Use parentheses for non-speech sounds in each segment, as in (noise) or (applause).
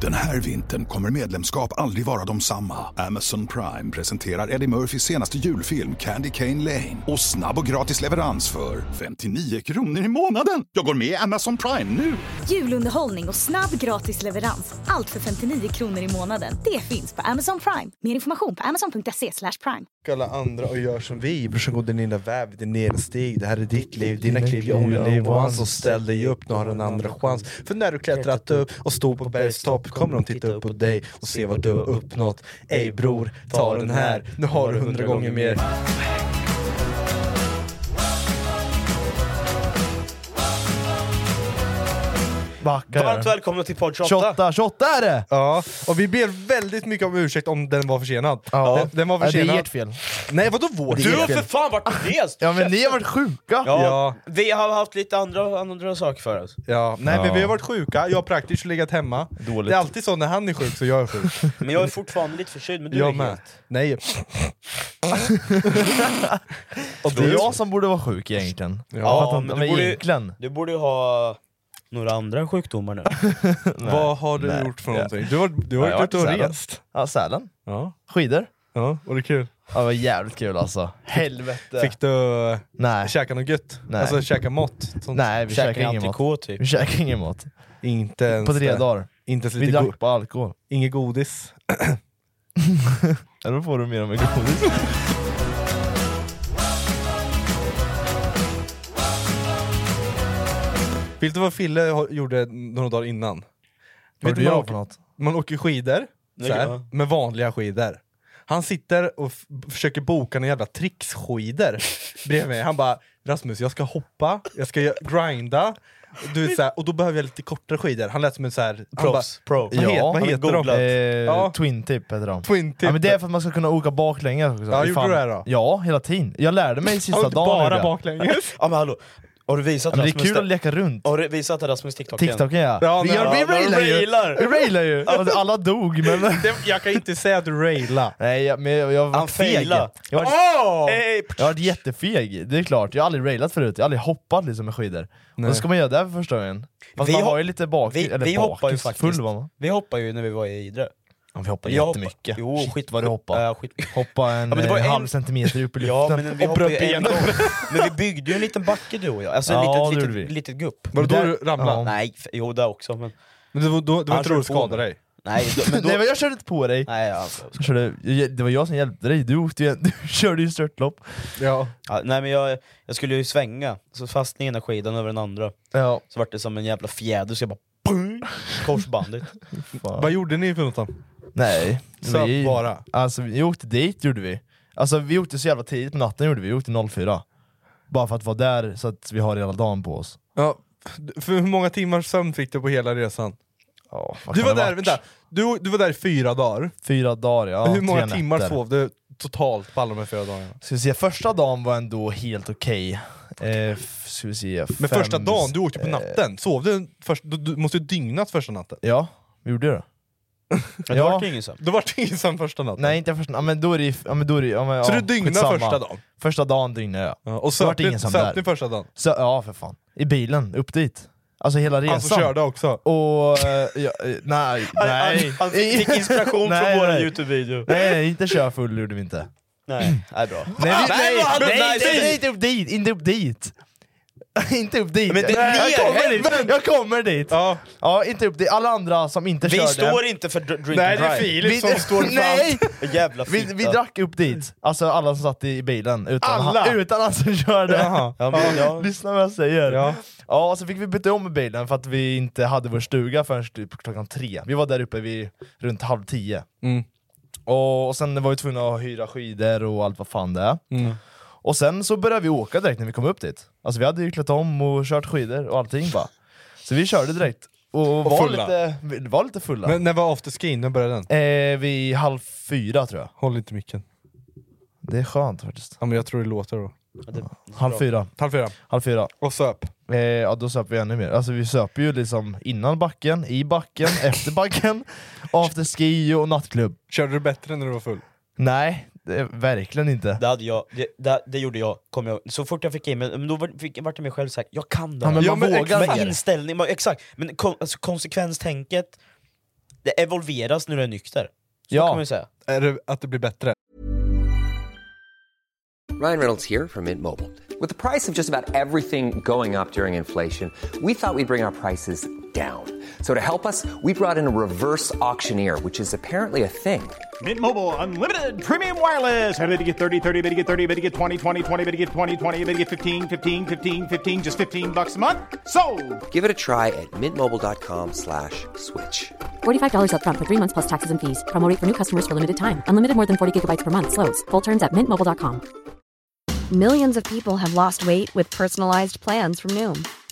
Den här vintern kommer medlemskap aldrig vara de samma. Amazon Prime presenterar Eddie Murphys senaste julfilm Candy Cane Lane. Och snabb och gratis leverans för 59 kronor i månaden. Jag går med i Amazon Prime nu! Julunderhållning och snabb gratis leverans. Allt för 59 kronor i månaden. Det finns på Amazon Prime. Mer information på amazon.se slash prime. alla andra och gör som vi. Brorsan går din lilla väg, din nedsteg. Det här är ditt liv, dina kliv, jag håller liv. Och han som ställ dig upp, nu har du en andra chans. För när du klättrat upp och står på bergstopp kommer de titta upp på dig och se vad du har uppnått. Ey bror, ta den här. Nu har du hundra gånger mer. Backa Varmt välkomna till podd 28. 28, 28 är det! Ja, och vi ber väldigt mycket om ursäkt om den var försenad. Ja. Den, den var Ja, det försenad. är ert fel. Nej, vadå vårt? Du fel? har för fan varit rest! Ja men ni har varit sjuka! Ja, Ja. Vi har haft lite andra, andra saker för oss. Ja, nej men Ja. vi har varit sjuka, jag har praktiskt legat hemma. Dåligt. Det är alltid så när han är sjuk så jag är (laughs) sjuk. Men jag är fortfarande lite förkyld, men du är jag med. helt... Nej. Och det är jag som borde vara sjuk egentligen. Ja, fattar inte, men men du borde, egentligen. Du borde ju ha några andra (laughs) sjukdomar nu. Vad har du Nej. gjort för någonting? Du har, du har Jag har varit ute och varit i Sälen. rest. Ja, Sälen. Ja. Skidor. Ja, var det kul? Ja, det var jävligt kul alltså. Helvete. Fick du äh, Nej. käka något gött? Nej. Alltså käka mått? Sånt. Nej, vi Käkar käkade ingen mat. antikå typ. Vi käkade ingen mat. Inte ens På tre det. dagar. Inte ens Vi lite go- drack bara alkohol. inget godis. Ja, då får du mer om en godis. Vet du vad Fille har- gjorde några dagar innan? Vad Vet du du gör vad- för något? man åker skidor, Ja. så här, med vanliga skidor. Han sitter och f- försöker boka några jävla tricksskidor bredvid mig. Han bara “Rasmus, jag ska hoppa, jag ska gö- grinda” du vet, så här, och då behöver jag lite kortare skidor. Han lät som en så här, han bara, Proffs. Pro. Vad heter- Ja, vad han heter de? googlat. Eh, Ja. Twin tip heter de. Twin tip. Ja, men det är för att man ska kunna åka baklänges också. Ja, Fy gjorde fan. du det här då? Ja, hela tiden. Jag lärde mig Han sista var inte dagen. gjorde bara jag. baklänges. Ja men hallå, har du visat Ja, men det är Rasmus kul det- att leka runt. Har du visat Rasmus TikTok igen? TikToken ja. Ja, vi, men- gör, vi ja, de railar ju! railar. Vi railar ju! Alltså, alla dog (laughs) men... Det- jag kan inte säga att du raila. Nej jag, men jag, jag har Han varit feg. Jag failade. Ah! har, varit- Åh! Hej! jag har varit jättefeg, det är klart. Jag har aldrig railat förut, jag har aldrig hoppat liksom med skidor. Och då ska man göra det här för första gången. Fast Vi man hop- var ju lite bak, vi- eller vi bakis, hoppar ju faktiskt. full var man. Vi hoppade ju när vi var i Idre. Ja, vi hoppade Jag hoppar- jättemycket. Jo, Shit, skit- vad du hoppade. Eh, skit- Hoppa en, Ja, men det var eh, en- halv centimeter upp i luften. Ja, men vi Och hoppade ju bröt en benet. gång. Men vi byggde ju en liten backe du och jag, alltså Ja, det ett litet, gjorde vi. litet, litet gupp. Var det då Där- du ramlade? Ja. Nej, f- jo det också men... Men det var, då, det var Han inte då du körde på skadade dig? Nej, då, men då... Nej men jag körde inte på dig. Nej, alltså, Jag körde, jag, det var jag som hjälpte dig, du, åkte ju, (laughs) du körde ju störtlopp. Ja. ja, nej men jag, jag skulle ju svänga, så fastnade ena skidan över den andra, Ja, så vart det som en jävla fjäder så jag bara pung, korsbandet. fan. Vad gjorde ni för något då? Nej. Så vi, bara. Alltså vi åkte dit gjorde vi. Alltså vi åkte så jävla tidigt på natten gjorde vi, vi åkte 04. Bara för att vara där så att vi har hela dagen på oss. Ja. För hur många timmars sömn fick du på hela resan? Ja, vad Du kan var det där, varit? vänta, du, du var där i fyra dagar. Fyra dagar ja, Hur många tre timmar nätter. sov du totalt på alla de här fyra dagarna? Ska vi se, första dagen var ändå helt okej. Eh, f- ska vi se, Men fem- första dagen, du åkte på natten, sov du, först, du, du måste ju dygnat första natten? Ja, vi gjorde det. Men det Ja. vart ju ingen sömn. Du var ensam första natten? Nej inte första, ja, men då är det ju- ja, men då är det, ja, men, Så ja, du dygnade skitsamma. första dagen? Första dagen dygnade jag. Ja, och Det vart söp ni- ingen som söp där. ni första dagen? Så, ja för fan. I bilen, upp dit. Alltså hela resan. Han som körde också? Och... eh, ja, eh, nej, (laughs) nej. Han, han fick fick (laughs) inspiration Nej, från våran nej. Youtube-video. Nej, nej, inte köra full gjorde vi inte. Nej, nej bra. Nej, vi, nej, vad hade- nej, Ah, nej, inte- nej. nej, inte upp dit! Inte upp dit! (laughs) inte upp dit! Men det- jag, ner, kommer dit. helvete. jag kommer dit! Ja. (laughs) Ja. inte upp dit. Alla andra som inte Vi körde... står inte för dr- drink Nej and det är drive. Filip som (laughs) står fram. Nej! Jävla Vi, fitta. vi drack upp dit, alltså alla som satt i bilen utan Alla? Han, (laughs) utan han som körde. Jaha. Ja, men, ja. (laughs) Lyssna vad jag säger. Ja. Ja, och så fick vi byta om i bilen för att vi inte hade vår stuga förrän typ klockan tre. Vi var där uppe vid runt halv tio. Mm. Och, och sen var vi tvungna att hyra skidor och allt vad fan det är. Mm. Och sen så började vi åka direkt när vi kom upp dit. Alltså vi hade ju klätt om och kört skidor och allting bara. Så vi körde direkt. Och, var, fulla. lite, vi var lite fulla. Men när var afterskin? När började den? Eh, vid halv fyra tror jag. Håll inte micken. Det är skönt faktiskt. Ja, men jag tror det låter då. Ja, det- Halv fyra. Halv fyra. Halv fyra. Och söp. Eh, ja, då söp vi ännu mer. Alltså vi söp ju liksom innan backen, i backen, (laughs) efter backen, after ski och nattklubb. Körde du bättre när du var full? Nej, det, verkligen inte. Det, hade jag, det, det, det gjorde jag, kom jag, så fort jag fick in mig, men då var- fick, vart jag mig själv såhär, jag kan det Ja, här. men Ja, man men vågar exakt. mer. Inställning, man, exakt, men kon, alltså, konsekvenstänket Det evolveras när du är nykter. Så Ja. kan man ju säga. Är det att det blir bättre? Ryan Reynolds here from Mint Mobile. With the price of just about everything going up during inflation, we thought we'd bring our prices down. So to help us, we brought in a reverse auctioneer, which is apparently a thing. Mint Mobile unlimited premium wireless. Ready to get 30, 30, bit to get 30, bit to get 20, 20, 20, bit to get 20, 20, bit to get 15, 15, 15, 15 just 15 bucks a month. Sold. Give it a try at mintmobile.com slash switch. $45 upfront for three months plus taxes and fees. Promo rate for new customers for limited time. Unlimited more than 40 gigabytes per month. Slows. Full terms at mintmobile.com. Millions of people have lost weight with personalized plans from Noom,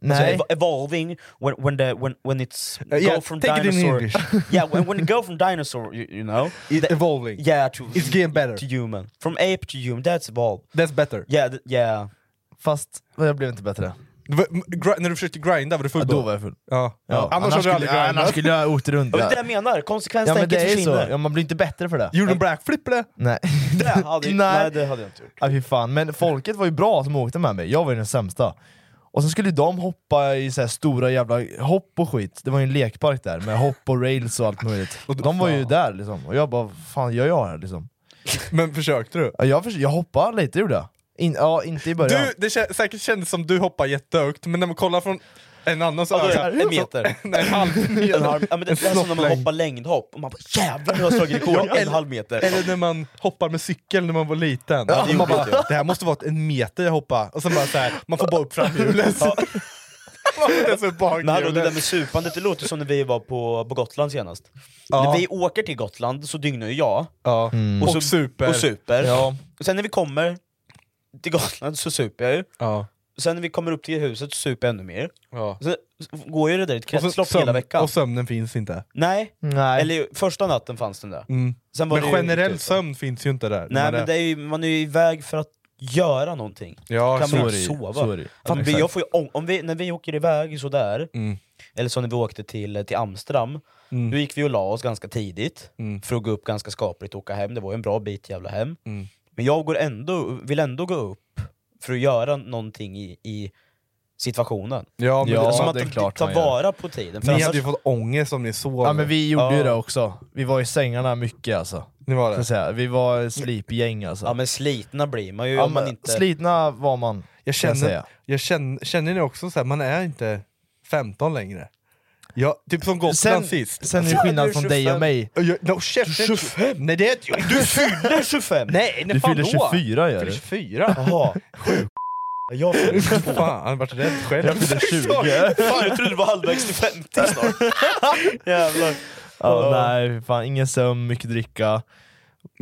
Nej. So Alltså, ev- evolving when when the when when it's Uh, yeah, go from take it in dinosaur. English. (laughs) yeah, when when go from dinosaur, you, you know. It the- evolving. Yeah, to It's getting better. to human. From ape to human. That's evolve. That's better. Yeah, th- yeah. Fast jag blev inte bättre. Det var- m- gri- när du försökte grinda, var du full Ja, då var jag full. Ja. Ja. Annars, hade du aldrig skulle, ja, annars grindat. skulle jag ha åkt runt. Och det är det Ja. jag menar, Ja men konsekvenstänket det är ju (laughs) så, försvinner. ja, man blir inte bättre för det. Gjorde du backflip eller? (laughs) Nej. Det hade, Nej. nej. nej, det hade jag inte gjort. Ja, fy fan. Men folket var ju bra som åkte med mig, jag var ju den sämsta. Och sen skulle de hoppa i så här stora jävla hopp och skit, det var ju en lekpark där med hopp och rails och (laughs) allt möjligt. De var ju där liksom, och jag bara fan gör jag här liksom? Men försökte du? Ja, Jag, förs- jag hoppade lite gjorde jag. In, ja, inte i början. Du, det kä- säkert kändes som du hoppar jättehögt, men när man kollar från en annans Ja, då är öga... jag en meter. Nej, en halv meter. (laughs) En halv, ja, men det, det är som när man hoppar längdhopp, och man bara jävlar nu har jag slagit rekord, en halv meter. Eller när man hoppar med cykel när man var liten. Ja, det man gjorde bara, inte jag. det här måste vara en meter jag hoppar, och sen bara så här, man får bara upp (laughs) framhjulet. Ja. Man får inte ens upp Men hallå, det där bakhjulet. med supandet, det låter som när vi var på, på Gotland senast. När vi åker till Gotland så dygnar ju jag, Ja. Mm. Och, så- super. och super. Ja. Och sen när vi kommer till Gotland så super jag ju. Ja. Sen när vi kommer upp till huset så super jag ännu mer. Ja. Sen går ju det där i ett Och, så kretslopp sömn- hela veckan. och sömnen finns inte. Nej, Nej. eller första natten fanns den där. Mm. Sen var Men det ju- generell sömn finns ju inte där. Nej Man men det är ju, man är ju iväg för att göra någonting. Ja, kan så man ju är inte det ju. sova. Så är det ju. Fan, Ja, vi- jag exakt. får ju, ång- om vi, när vi åker iväg sådär, Mm. eller som när vi åkte till, till Amsterdam, Mm. då gick vi och la oss ganska tidigt Mm. för att gå upp ganska skapligt och åka hem. Det var ju en bra bit jävla hem. Mm. Men jag går ändå, vill ändå gå upp för att göra någonting i, i situationen. Ja, men Ja, Det är det, som att det är ta- klart ta man gör. vara på tiden. För ni annars, hade ju fått ångest om ni sov. Ja men vi gjorde ju Ja. det också, vi var i sängarna mycket alltså. Ni var Ska jag det. säga. Vi var slipgäng alltså. ja, men slitna blir man ju Ja, om man men inte... Slitna var man, Jag kan jag känner, säga. jag känner, känner ni också så här, man är inte 15 längre. Ja, typ som Gotland Sen, sist. Alltså, sen är det skillnad från dig och mig. Ja, Jag, no, chef, du 25? Nej det är inte jag. Du fyller... Det är 25! Nej, nej Du fan fyller då? 24 Jag gör fyller du. 24? Jaha. Jag fan, jag vart rädd själv. Jag fyller (laughs) 20. Fan, jag trodde du var halvvägs till 50 snart. (laughs) Jävlar. Ja, nej, fan, ingen sömn, mycket dricka.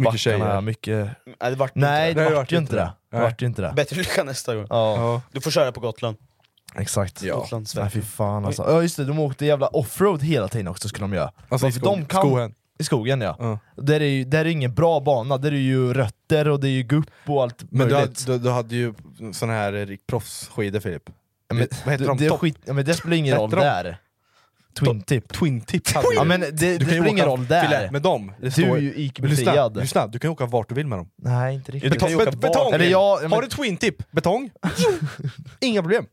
Backarna, Mycket tjejer. Mycket... Nej, det vart Nej, inte det det vart ju inte det. Det Nej. vart ju inte det. det. Bättre lycka nästa gång. Ja, Ja. Du får köra på Gotland. exakt. Ja. Gotlands Nej fy fan alltså. Ja just det, de åkte jävla offroad hela tiden också skulle de göra. Alltså, i För skogen. de kan... Skogen. I skogen ja. Ja. Där är ju där är ingen bra bana, där är ju rötter och det är ju gupp och allt Men du, hade- möjligt. du, du hade ju såna här eh, proffsskidor Filip. Ja, men, vad heter de? det, det, Topp- skit, ja, men det spelar ingen roll Vad heter där. Twin tip. Twin tip hade Ja du. men det, det Du kan ju spelar ingen åka roll där. filä med dem. Det Du står är ju lyssna, IQ-befriad. lyssna, du kan ju åka vart du vill med dem. Nej inte Du riktigt. kan ju åka Bet- betong! bak. Eller ja, ja, men- Har du twin tip? Betong? Inga problem.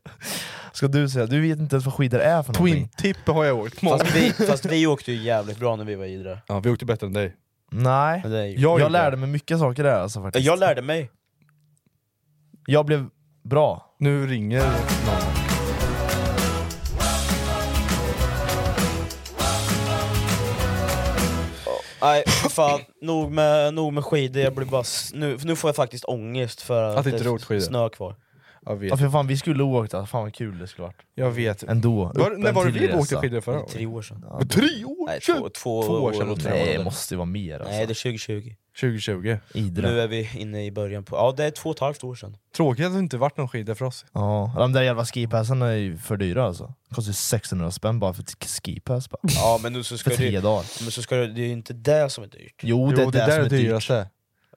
Ska du säga, du vet inte ens vad skidor är för Twin någonting. tip har jag åkt. Många. Fast vi, fast vi åkte ju jävligt bra när vi var i Idre. Ja, vi åkte bättre än dig. Nej. Men det är ju- Jag, gjorde lärde mig mycket saker där alltså faktiskt. Jag lärde mig. jag blev bra. Nu ringer någon. Nej, fan. Nog med, nog med skidor, jag blir bara... s- Nu, för nu får jag faktiskt ångest för att, Att inte du åkt skidor? snö kvar. Jag Ja, för fan, vi skulle åkt, alltså. fan vad kul det skulle varit. Jag vet. Ändå. Var- upp när en var det till vi åkte resa. skidor förra året? Tre år sedan. Ja, Tre år Nej, två, två, Två år sedan och och tre tre år. månader. Det måste ju vara mer, alltså. Nej, det är 2020. 2020. Idre. Nu är vi inne i början på... Ja, det är två och ett halvt år sedan. Tråkigt att det inte varit någon skida för oss. Ja, de där jävla skipassen är ju för dyra alltså. Kostar ju 1600 spänn bara för ett skipass bara. Ja, men nu så ska För tre det, dagar. Men så ska det, det är ju inte det som är dyrt. Jo, det är det, som är dyrt.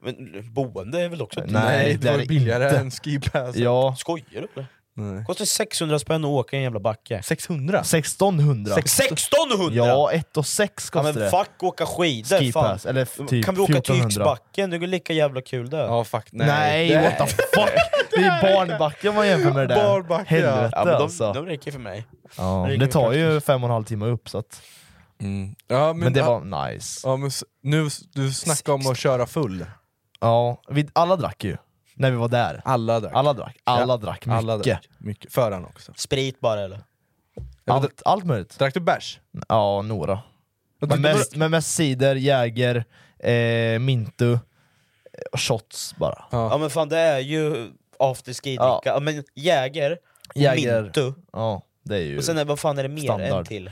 Men boende är väl också dyrt? Nej, det är det inte. skipass. Ja. Skojar du eller? Nej. Kostar 600 spänn att åka i en jävla backe. 600? 1600! 1600! Ja, 1 och 6 Ja, kostar men fuck åka skidor! Skipass, fan. eller f- typ kan vi åka till 1400? Yxbacken? Det är lika jävla kul där. Ja, fuck Nej, what the (laughs) fuck! Det är barnbacken man jämför med det där. Barnbacken, ja. Helvete Ja, men de- alltså. de räcker för mig. Ja, Det räcker det för tar ju fem och en halv timme upp så att... Mm. Ja, men, det var nice. Ja, men s- nu, s- du snackar om att köra full. Ja, vi, alla drack ju. När vi var där. Alla drack. Alla drack, alla Ja, drack mycket. alla drack mycket. Föraren också. Sprit bara eller? Allt, allt möjligt. Drack du bärs? Ja, några. du- Men mest, men mest cider, Jäger, eh, Mintu, eh, och shots bara. Ja. men fan det är ju afterski Ja. dricka. Ja. men Jäger, Jäger. Jäger, Mintu, Ja, det är ju och sen är, vad fan är det mer än standard. till?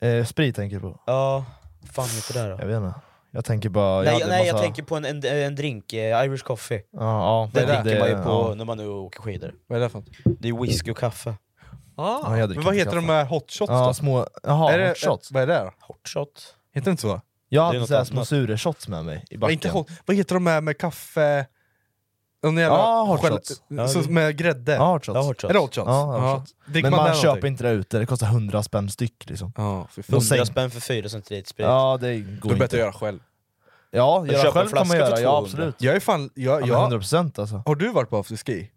eh, sprit tänker du på? Ja, fan heter det då? Jag vet inte. Jag tänker bara... nej, hade nej jag massa- tänker på en, en, en drink, eh, Irish coffee. Ja, ja, Den det- dricker man ju det- på ja. när man nu åker skidor. Vad är det för något? Det är whisky och kaffe. Ah, Ja, jag dricker men vad inte heter kaffe. de här hot shots Ja, då? små... Jaha, är det, hot shots. eh, Vad är det då? Hot shot. Heter det inte så? Jag Det är hade något såhär små annat. sura shots med mig i Men backen. inte hot, vad heter de här med kaffe... De jävla Ja, hot själv- shots. så- Med grädde? Ja, hot shots. Ja, hot shots. Är det hot shots? Ja, hot shots. Dricker Men man, där köper någonting? inte det ute, det kostar 100 spänn styck liksom. Ja, för fan. De 100 säger- spänn för fyra centiliter sprit. Ja, det går Då är det inte. bättre att göra själv. Ja, köpa en göra själv kan man flaska för göra, ja 200. absolut. Jag är fan... Jag, Ja, jag, men 100% alltså. har du varit på afterski?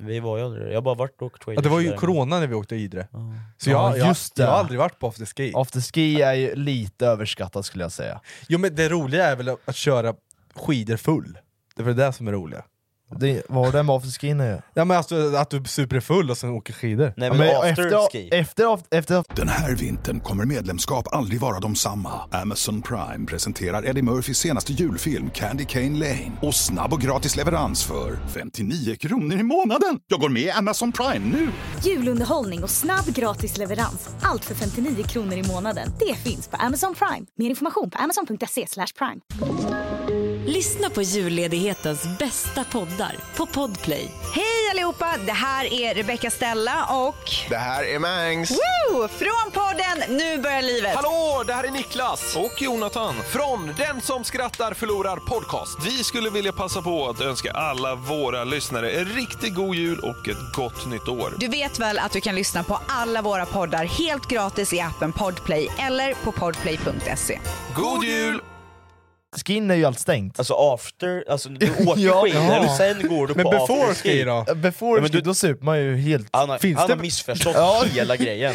Vi var ju aldrig det. Jag har bara varit och åkt skidor. Ja, det var så ju där. corona när vi åkte i Idre. Ja. Så Ja, jag, jag, just det. jag har aldrig varit på afterski. Afterski är ju lite överskattat skulle jag säga. Jo men det roliga är väl att köra skidor full. Det är väl det som är roliga. Det, vad har det med afterskin att göra? Ja men alltså att du super full och sen åker skidor. Nej Ja, men, men afterski. efter, efter, efter, efter Den här vintern kommer medlemskap aldrig vara de samma. Amazon Prime presenterar Eddie Murphys senaste julfilm Candy Cane Lane. Och snabb och gratis leverans för 59 kronor i månaden. Jag går med i Amazon Prime nu! Julunderhållning och snabb gratis leverans. Allt för 59 kronor i månaden. Det finns på Amazon Prime. Mer information på amazon.se slash prime. Lyssna på julledighetens bästa poddar på Podplay. Hej allihopa! Det här är Rebecca Stella och... Det här är Mangs. Woo! Från podden Nu börjar livet! Hallå, det här är Niklas. Och Jonathan. Från Den som skrattar förlorar podcast. Vi skulle vilja passa på att önska alla våra lyssnare en riktigt god jul och ett gott nytt år. Du vet väl att du kan lyssna på alla våra poddar helt gratis i appen Podplay eller på podplay.se. God jul! skin är ju allt stängt. Alltså after, alltså du åker (laughs) Ja, skidor ja. och sen går du Men på before afterski. ski då? Before Ja, men ski, du- då super man ju helt... Han har, Finns han det- har missförstått Ja. (laughs) hela grejen.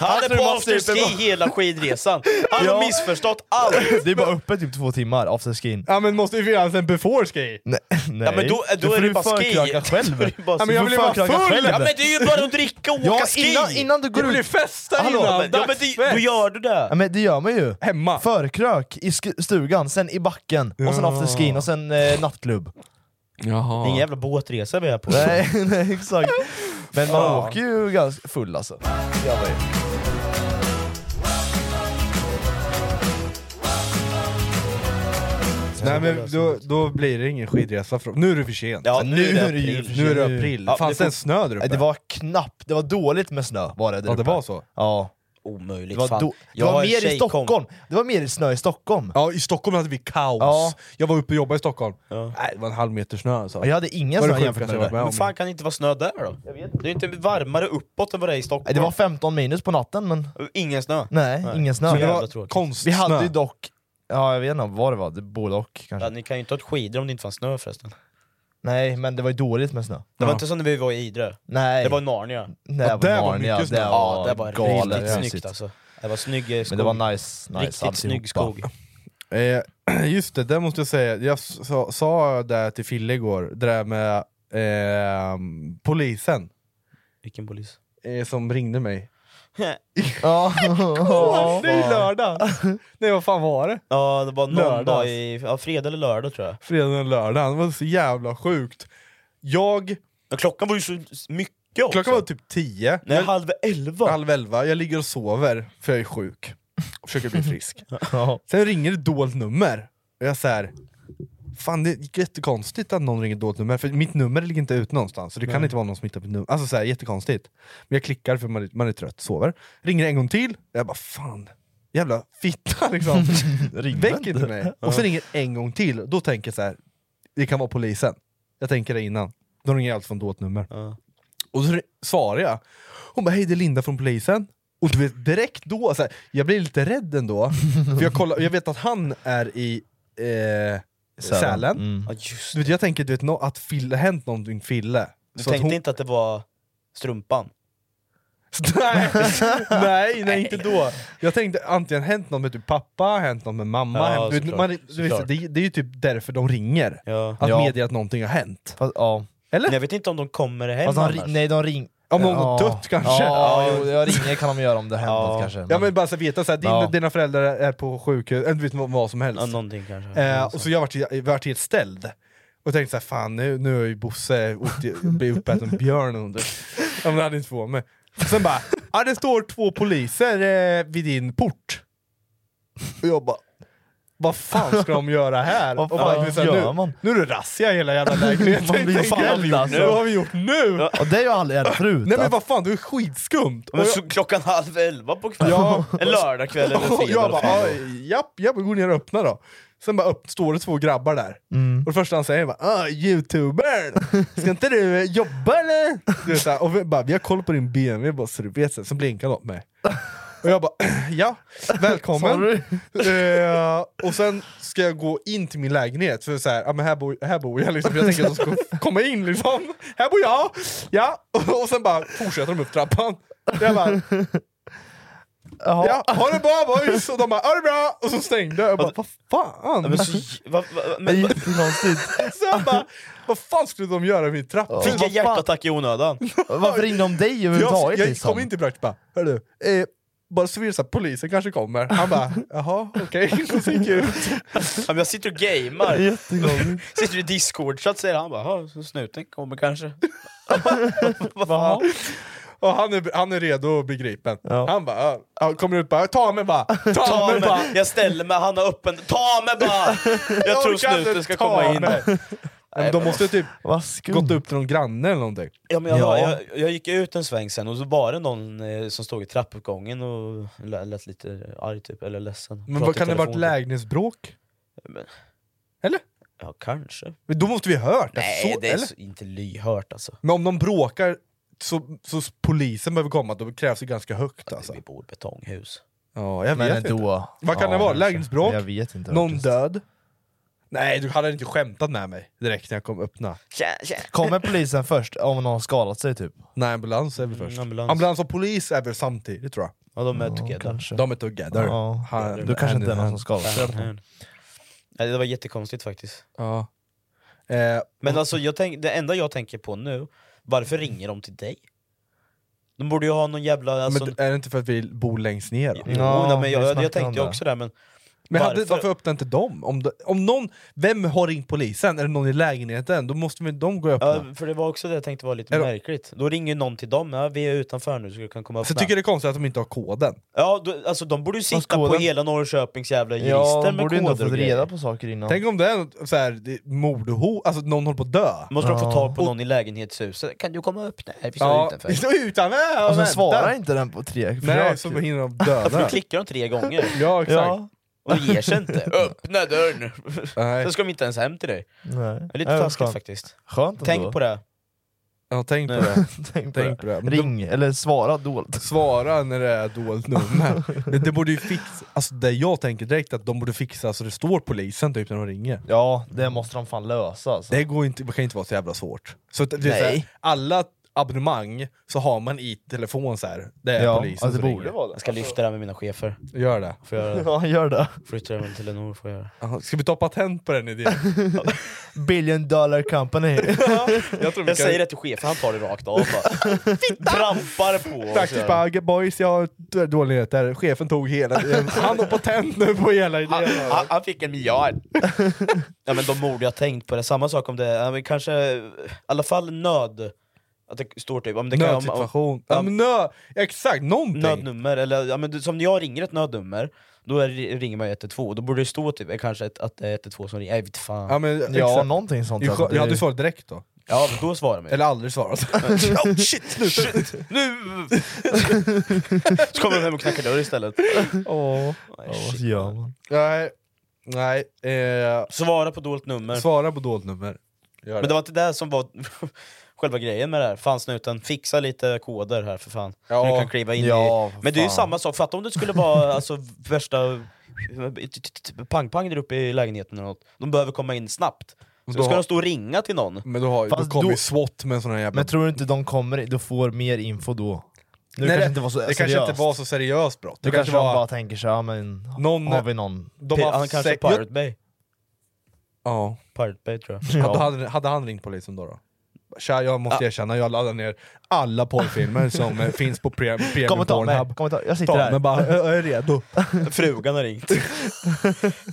Han är tror på man afterski super- hela skidresan. Han Ja. har missförstått allt. (laughs) Det är bara öppet typ två timmar, afterskin. Ja men måste ju finnas en before ski? (laughs) Nej, nej. Ja, men då- då får är det du bara ski. förkröka (laughs) Då är själv. det bara- Du Men jag får vill vara förkröka full! själv. Ja, men det är ju bara att dricka och åka Ja, ski! innan, innan du går Du vill ju ut... festa Hallå, innan! men, ja, men det, då gör du det! Ja, men det gör man ju. Hemma! Förkrök i sk- stugan, sen i backen, och sen Ja. afterskin och sen eh, nattklubb. (laughs) Det Jaha. är ingen jävla båtresa vi är på. nej, nej, exakt. Men man Fan. åker ju ganska full alltså. Gör man ju. Nej men då, då blir det ingen skidresa. Från. Nu är du för sent. Ja, nu är det ju- april. Nu är det april. Ja, Fanns det det får- ens snö där uppe? Nej, det var knappt, det var dåligt med snö var det där ja, det uppe. var så. Ja. Omöjligt. Det var, fan. do- det Jag var har en mer i tjejkompis- Stockholm. Det var mer snö i Stockholm. Ja, i Stockholm hade vi kaos. Ja. Jag var uppe och jobbade i Stockholm. Ja. Nej, det var en halv meter snö alltså. Jag hade ingen Var det snö jämfört sjukaste med jag varit det där. med om? Men fan kan det inte vara snö där då? Det är ju inte varmare uppåt än vad det är i Nej, Stockholm. Det var 15 minus på natten men Ingen snö. nej, Nej. ingen Så snö. jävla Det tråkigt. var, Konstsnö. vi hade ju dock, ja jag vet inte vad det var, det, både och kanske. Ja, ni kan ju inte ha ett skidor om det inte fanns snö förresten. Nej men det var ju dåligt med snö. Det var Ja. inte som när vi var i Idre. Nej. Det var i Narnia. Nej, Ja, där var Narnia, mycket snö. det Ja, Ja, var det var galet riktigt snyggt mysigt. alltså. Det var snygg eh, skog. Men det var nice, nice Riktigt snygg skog. Eh, (clears throat) just det, det måste jag säga. Jag sa, sa det till Fille igår, det där med ehm, polisen Vilken polis? eh, som ringde mig. Ja. Ja. Det är ju lördag! Nej vad fan var det? Ja, det var någon Lördags. dag i, ja, fredag eller lördag tror jag. Fredag och lördag, det var så jävla sjukt. Jag... klockan var ju så mycket också. Klockan var typ tio. Nej, halv elva. Halv elva, jag ligger och sover för jag är sjuk. Och försöker bli (laughs) frisk. Sen ringer ett dolt nummer, och jag säger Fan det är jättekonstigt att någon ringer ett dolt nummer, för mitt nummer ligger inte ut någonstans, så det kan Nej. inte vara någon som hittat mitt nummer. Alltså såhär, jättekonstigt. Men jag klickar för man är, man är trött, sover. Ringer en gång till, och jag bara fan, jävla fitta (laughs) liksom. Väck inte mig. Och så ringer en gång till, då tänker jag så här. det kan vara polisen. Jag tänker det innan. De ringer alltid från dolt nummer. Och så ri- svarar jag. Hon bara, hej det är Linda från polisen. Och du vet, direkt då, så här, jag blir lite rädd ändå. för jag, kollar, jag vet att han är i eh, Sälen. Sälen. Mm. Ja, Du vet, jag tänker du vet, nå- att Fille, det har hänt någonting Fille. Du Så att tänkte hon- inte att det var strumpan? (laughs) nej, nej, nej, inte då. Jag tänkte antingen hänt något med typ pappa, hänt något med mamma. Ja, hänt, du vet, såklart, man, du vet, så såklart. det, det är ju typ därför de ringer. Att Ja. medge att någonting har hänt. Eller? Jag vet inte om de kommer hem Fast de ri- annars. nej, de ring... Om någon har Ja. dött kanske? Ja, jo, jag ringer kan de göra om det hänt något kanske. Ja men bara så att veta, så här, din, Ja. dina föräldrar är på sjukhus, eller du vet vad- vad som helst. Ja, någonting kanske. Eh, och så jag vart, jag vart helt ställd. Och tänkte såhär, fan nu, nu har ju Bosse åkt- blivit uppäten av björn under. Ja men det hade inte förvånat mig. Sen bara, ja det står två poliser eh, vid din port. Och jag bara, vad fan ska de göra här? Vad Och bara, fan du vet, så här, gör nu, man? Nu är det razzia i hela (laughs) jävla lägenheten. Man blir Tänkte, vad har vi ställd, gjort alltså. nu? Vad har vi gjort nu? Och det har jag aldrig hänt förut. Nej men vad fan, du är skitskumt! Och Men jag- så klockan halv elva på kvällen? En lördagkväll (laughs) eller en Och fredag? jag vad fan bara, det var. "Aj, japp, japp, går ner och öppnar då. Sen bara upp, står det två grabbar där. Mm. Och det första han säger är bara, ah, youtubern, ska inte du eh, jobba eller? Du vet, så här, och vi bara, vi har koll på din BMW bara så du vet. Så här. Sen blinkar de åt mig. Och jag bara, (clears throat) ja, välkommen. Eh, och sen ska jag gå in till min lägenhet, för så här, ja, men här, bor, här bor jag liksom. Jag tänker att de (laughs) ska komma in liksom. Här bor jag! Ja. Och sen bara fortsätter de upp trappan. Jag bara, Ja, ha det bra boys! Och de bara ha det bra! Och så stängde jag, jag bara vad fan! Ja, men så- va- va- Det men- är jättekonstigt. så jag bara, vad fan skulle de göra i min trappa? Fick jag Vad fan? hjärtattack i onödan? Varför ringde de dig Jag, överhuvudtaget? jag liksom? kom in till Brax bara, hörru, eh, bara så vill så här, polisen kanske kommer. Han bara, jaha okej. (laughs) Och så gick jag ut. Ja, men jag sitter och gamear. (laughs) sitter i discord så säger han bara "Ja, så snuten (laughs) kommer kanske. Vad fan? Och han är, han är redo och begripen. Han bara, ja. han kommer ut bara, ta mig bara! (laughs) Ta mig bara! Jag ställer mig, han har öppen... Ta mig bara! Jag tror orkar inte, snuten ska ta komma in. mig. Men de måste typ gått upp till någon granne eller någonting. Ja, men jag, jag, jag gick ut en sväng sen och så var det någon eh, som stod i trappuppgången och lä- lät lite arg typ, eller ledsen. Men Pratade vad i kan det varit telefon. lägenhetsbråk? Men- Eller? Ja, kanske. Men då måste vi ha hört det. Nej, så, det är eller? så, inte lyhört alltså. Men om de bråkar så, så s- polisen behöver komma, då krävs det ganska högt alltså. Vi bor i betonghus. Ja, jag Men vet ändå. inte. Vad kan det vara? Ja, kanske. Lägenhetsbråk? Jag vet inte Någon faktiskt. död? Nej, du hade inte skämtat med mig direkt när jag kom öppna. Kommer polisen först om någon har skadat sig typ? Nej, ambulans är väl Mm, först. ambulans. och polis är väl samtidigt tror jag. Ja, de är together. De är together. Ja. Han- Du kanske inte är någon som skadat sig. Mm. Nej, det var jättekonstigt faktiskt. Ja. Eh, Men alltså, jag tänk, det enda jag tänker på nu, varför ringer de till dig? De borde ju ha någon jävla... Alltså, Men är det inte för att vi bor längst ner då? Jo, nej, men jag, jag, jag tänkte ju också det, men... Men hade, varför öppnade inte de? Om, de- om någon, vem har ringt polisen? Är det någon i lägenheten? Då måste väl de gå och öppna? Ja, för det var också det jag tänkte var lite Eller- märkligt. Då ringer ju någon till dem, ja, vi är utanför nu så du kan komma och Så Alltså, jag öppna. tycker det är konstigt att de inte har koden. Ja, då, alltså de borde ju sitta på koden- hela Norrköpings jävla jurister med koder och grejer. saker innan. Tänk om det är något så här, det- mordhot, alltså att någon håller på att dö. Måste de få tag på någon i lägenhetshuset? Kan du komma upp? Nej, vi står Ja, utanför. Alltså, vi (laughs) står utanför och Och sen väntar. svarar inte den på tre typ. Nej, typ. så hinner de Ja, för döda. då klickar de tre gånger. Ja, exakt. Och det ger sig inte. (laughs) Öppna dörren! Nej. Sen ska de inte ens hem till dig. Nej. Det är lite Ja, taskigt skönt. faktiskt. Skönt Tänk ändå. på det. Ja, tänk på Nej. det. Tänk på Tänk det. på det. Men Ring, eller svara dolt. Svara när det är dolt (laughs) nummer. Men det borde ju fixa, alltså det jag tänker direkt är att de borde fixa så det står polisen typ när de ringer. Ja, det måste de fan lösa alltså. Det går inte, det kan inte vara så jävla svårt. Så att det är Nej. så här, alla, abonnemang så har man i telefon så här. alltså, Det är polisen alltså, som ringer. Jag ska lyfta det här med mina chefer. Gör det. Får jag göra det? (laughs) Ja, gör det. Flyttar jag väl till Telenor får jag göra det. Jaha, Ska vi ta patent på den (laughs) idén? Billion dollar company. jag tror vi kan- säger det till chefen, han tar det rakt av bara. Trampar på. och Faktiskt kör. bara, "Ge boys jag har d- dåliga nyheter, chefen tog hela (laughs) idén. Han har patent nu på hela idén. Han, han, han fick en miljard. (laughs) ja men de borde ha tänkt på det. Samma sak om det, ja, men kanske, i alla fall nöd. Att det står typ... Om det kan- om- om- Nödsituation. Ja, men nö, exakt, någonting. Nödnummer, eller ja, men, du- som när jag ringer ett nödnummer, då är, ringer man ju 112, då borde det stå typ eh, kanske ett, att det är 112 som ringer, jag vet fan. Ja, men, exakt. Det är alltså. skö- Ja, du svarade direkt då. Ja, men då svarar man ju. Eller aldrig svarat. oh, shit, nu, shit, nu! Så kommer de hem och knackar dörr istället. Åh. vad gör man? (laughs) Nej. Nej. Eh, svara på dolt nummer. Svara på dolt nummer. Gör Men det var inte det som var (laughs) själva grejen med det här. Fan snuten, fixa lite koder här för fan. Ja. Du kan kliva in Ja, i... Men det är ju fan. samma sak, fatta om det skulle vara alltså, värsta pang-pang där uppe i lägenheten eller något. De behöver komma in snabbt. Så Då då ska har- de stå och ringa till någon. Men då, har, då Fast kommer då- ju SWAT med en sån här jävla... Men tror du inte de kommer, du får mer info då? Nu kanske det, inte var så det kanske inte var så seriöst brott. Det, kanske de bara tänker så, ja men Någon- har vi någon? De har Han kanske säkert- Pirate Bay. Ja. Pirate Bay tror jag. Hade, hade, hade han ringt polisen då? då? Tja, jag måste Ja. erkänna, jag laddar ner alla (laughs) porrfilmer som eh, finns på pre- Premium Kom och ta mig, Pornhub. kom och ta, jag sitter Ta här. mig bara, jag jag är redo. Frugan har ringt.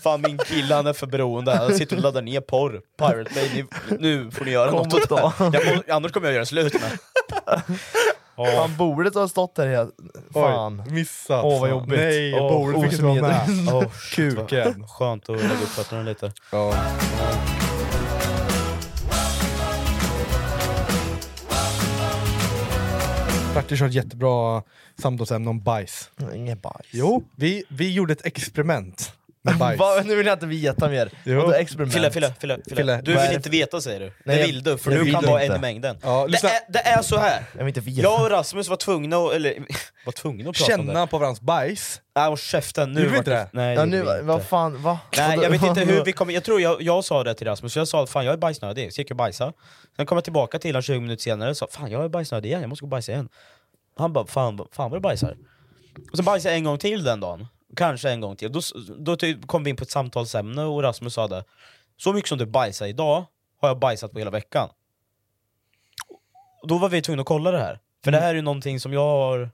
Fan min kille han är för beroende, han sitter och laddar ner porr. Pirate Bay, ni, nu får ni göra Kom något. och ta. Jag må, annars kommer jag göra (laughs) slut med. Han borde ha stått där hela... Fan. missat. Åh vad Fan. jobbigt. Nej, jag Åh, borde fick inte vara med. (laughs) osmidigt. Åh, shit, vad Skönt att lägga upp fötterna lite. Bertil har ett jättebra samtalsämne om bajs. Inget bajs. Jo, vi, vi gjorde ett experiment (laughs) med bajs. Va, nu vill jag inte veta mer. Jo. Vadå experiment? Fille, Fille, Fille, Fille. Fille, Du vad är vill det inte veta säger du. Nej, det jag- vill du, för jag du vill kan vara inte. en i mängden. Ja, det, lyssna. är, det är så här. Jag vill inte veta. Jag och Rasmus var tvungna att, eller (laughs) var tvungna att prata om det. Känna på varandras bajs. Nej, och käften. Nu Gjorde vi vart inte det? Nej, ja, det nu, gjorde vi inte. vad fan, va? Nej jag vet inte hur Vadå? vi kommer, jag tror jag, jag sa det till Rasmus, jag sa fan jag är bajsnödig, så gick jag och bajsade. Sen kom jag tillbaka till honom 20 minuter senare och sa fan jag är bajsnödig igen, jag måste gå och bajsa igen. Han bara fan, fan vad du bajsar. Och sen bajsade jag en gång till den dagen, kanske en gång till. Då, s- då ty- kom vi in på ett samtalsämne och Rasmus sa det, så mycket som du bajsar idag har jag bajsat på hela veckan. Och Då var vi tvungna att kolla det här, för det här är ju någonting som jag har,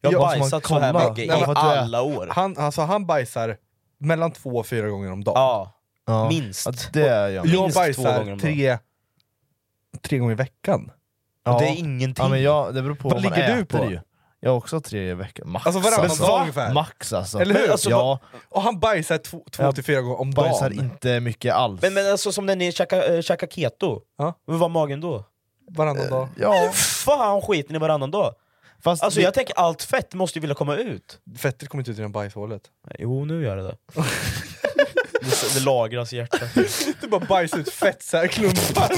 jag Ja, har som man bajsat så här kollar. mycket Nej, i men alla år. Han, alltså, han bajsar mellan två och fyra gånger om dagen. Ja, Ja. minst. Ja, det gör jag. Jag Minst två gånger bajsar om tre, tre gånger i veckan. Ja. Det är ingenting. Ja, men jag, det beror på Vad vad man ligger du äter på? Ju. Jag har också tre i veckan, max Alltså varannan alltså. dag ungefär. Max alltså. Eller hur? ja, Och han bajsar två, två Jag till fyra gånger om bajsar dagen. inte mycket alls. Men, men alltså som när ni käkade eh, käkade keto, Ja. hur var magen då? Varannan dag. Ja. Fan skiter ni varannan dag? Fast alltså det- jag tänker allt fett måste ju vilja komma ut. Fettet kommer inte ut genom bajshålet. Jo nu gör det det. (laughs) det, det lagras i hjärtat. Du bara bajsar ut fett så här klumpar.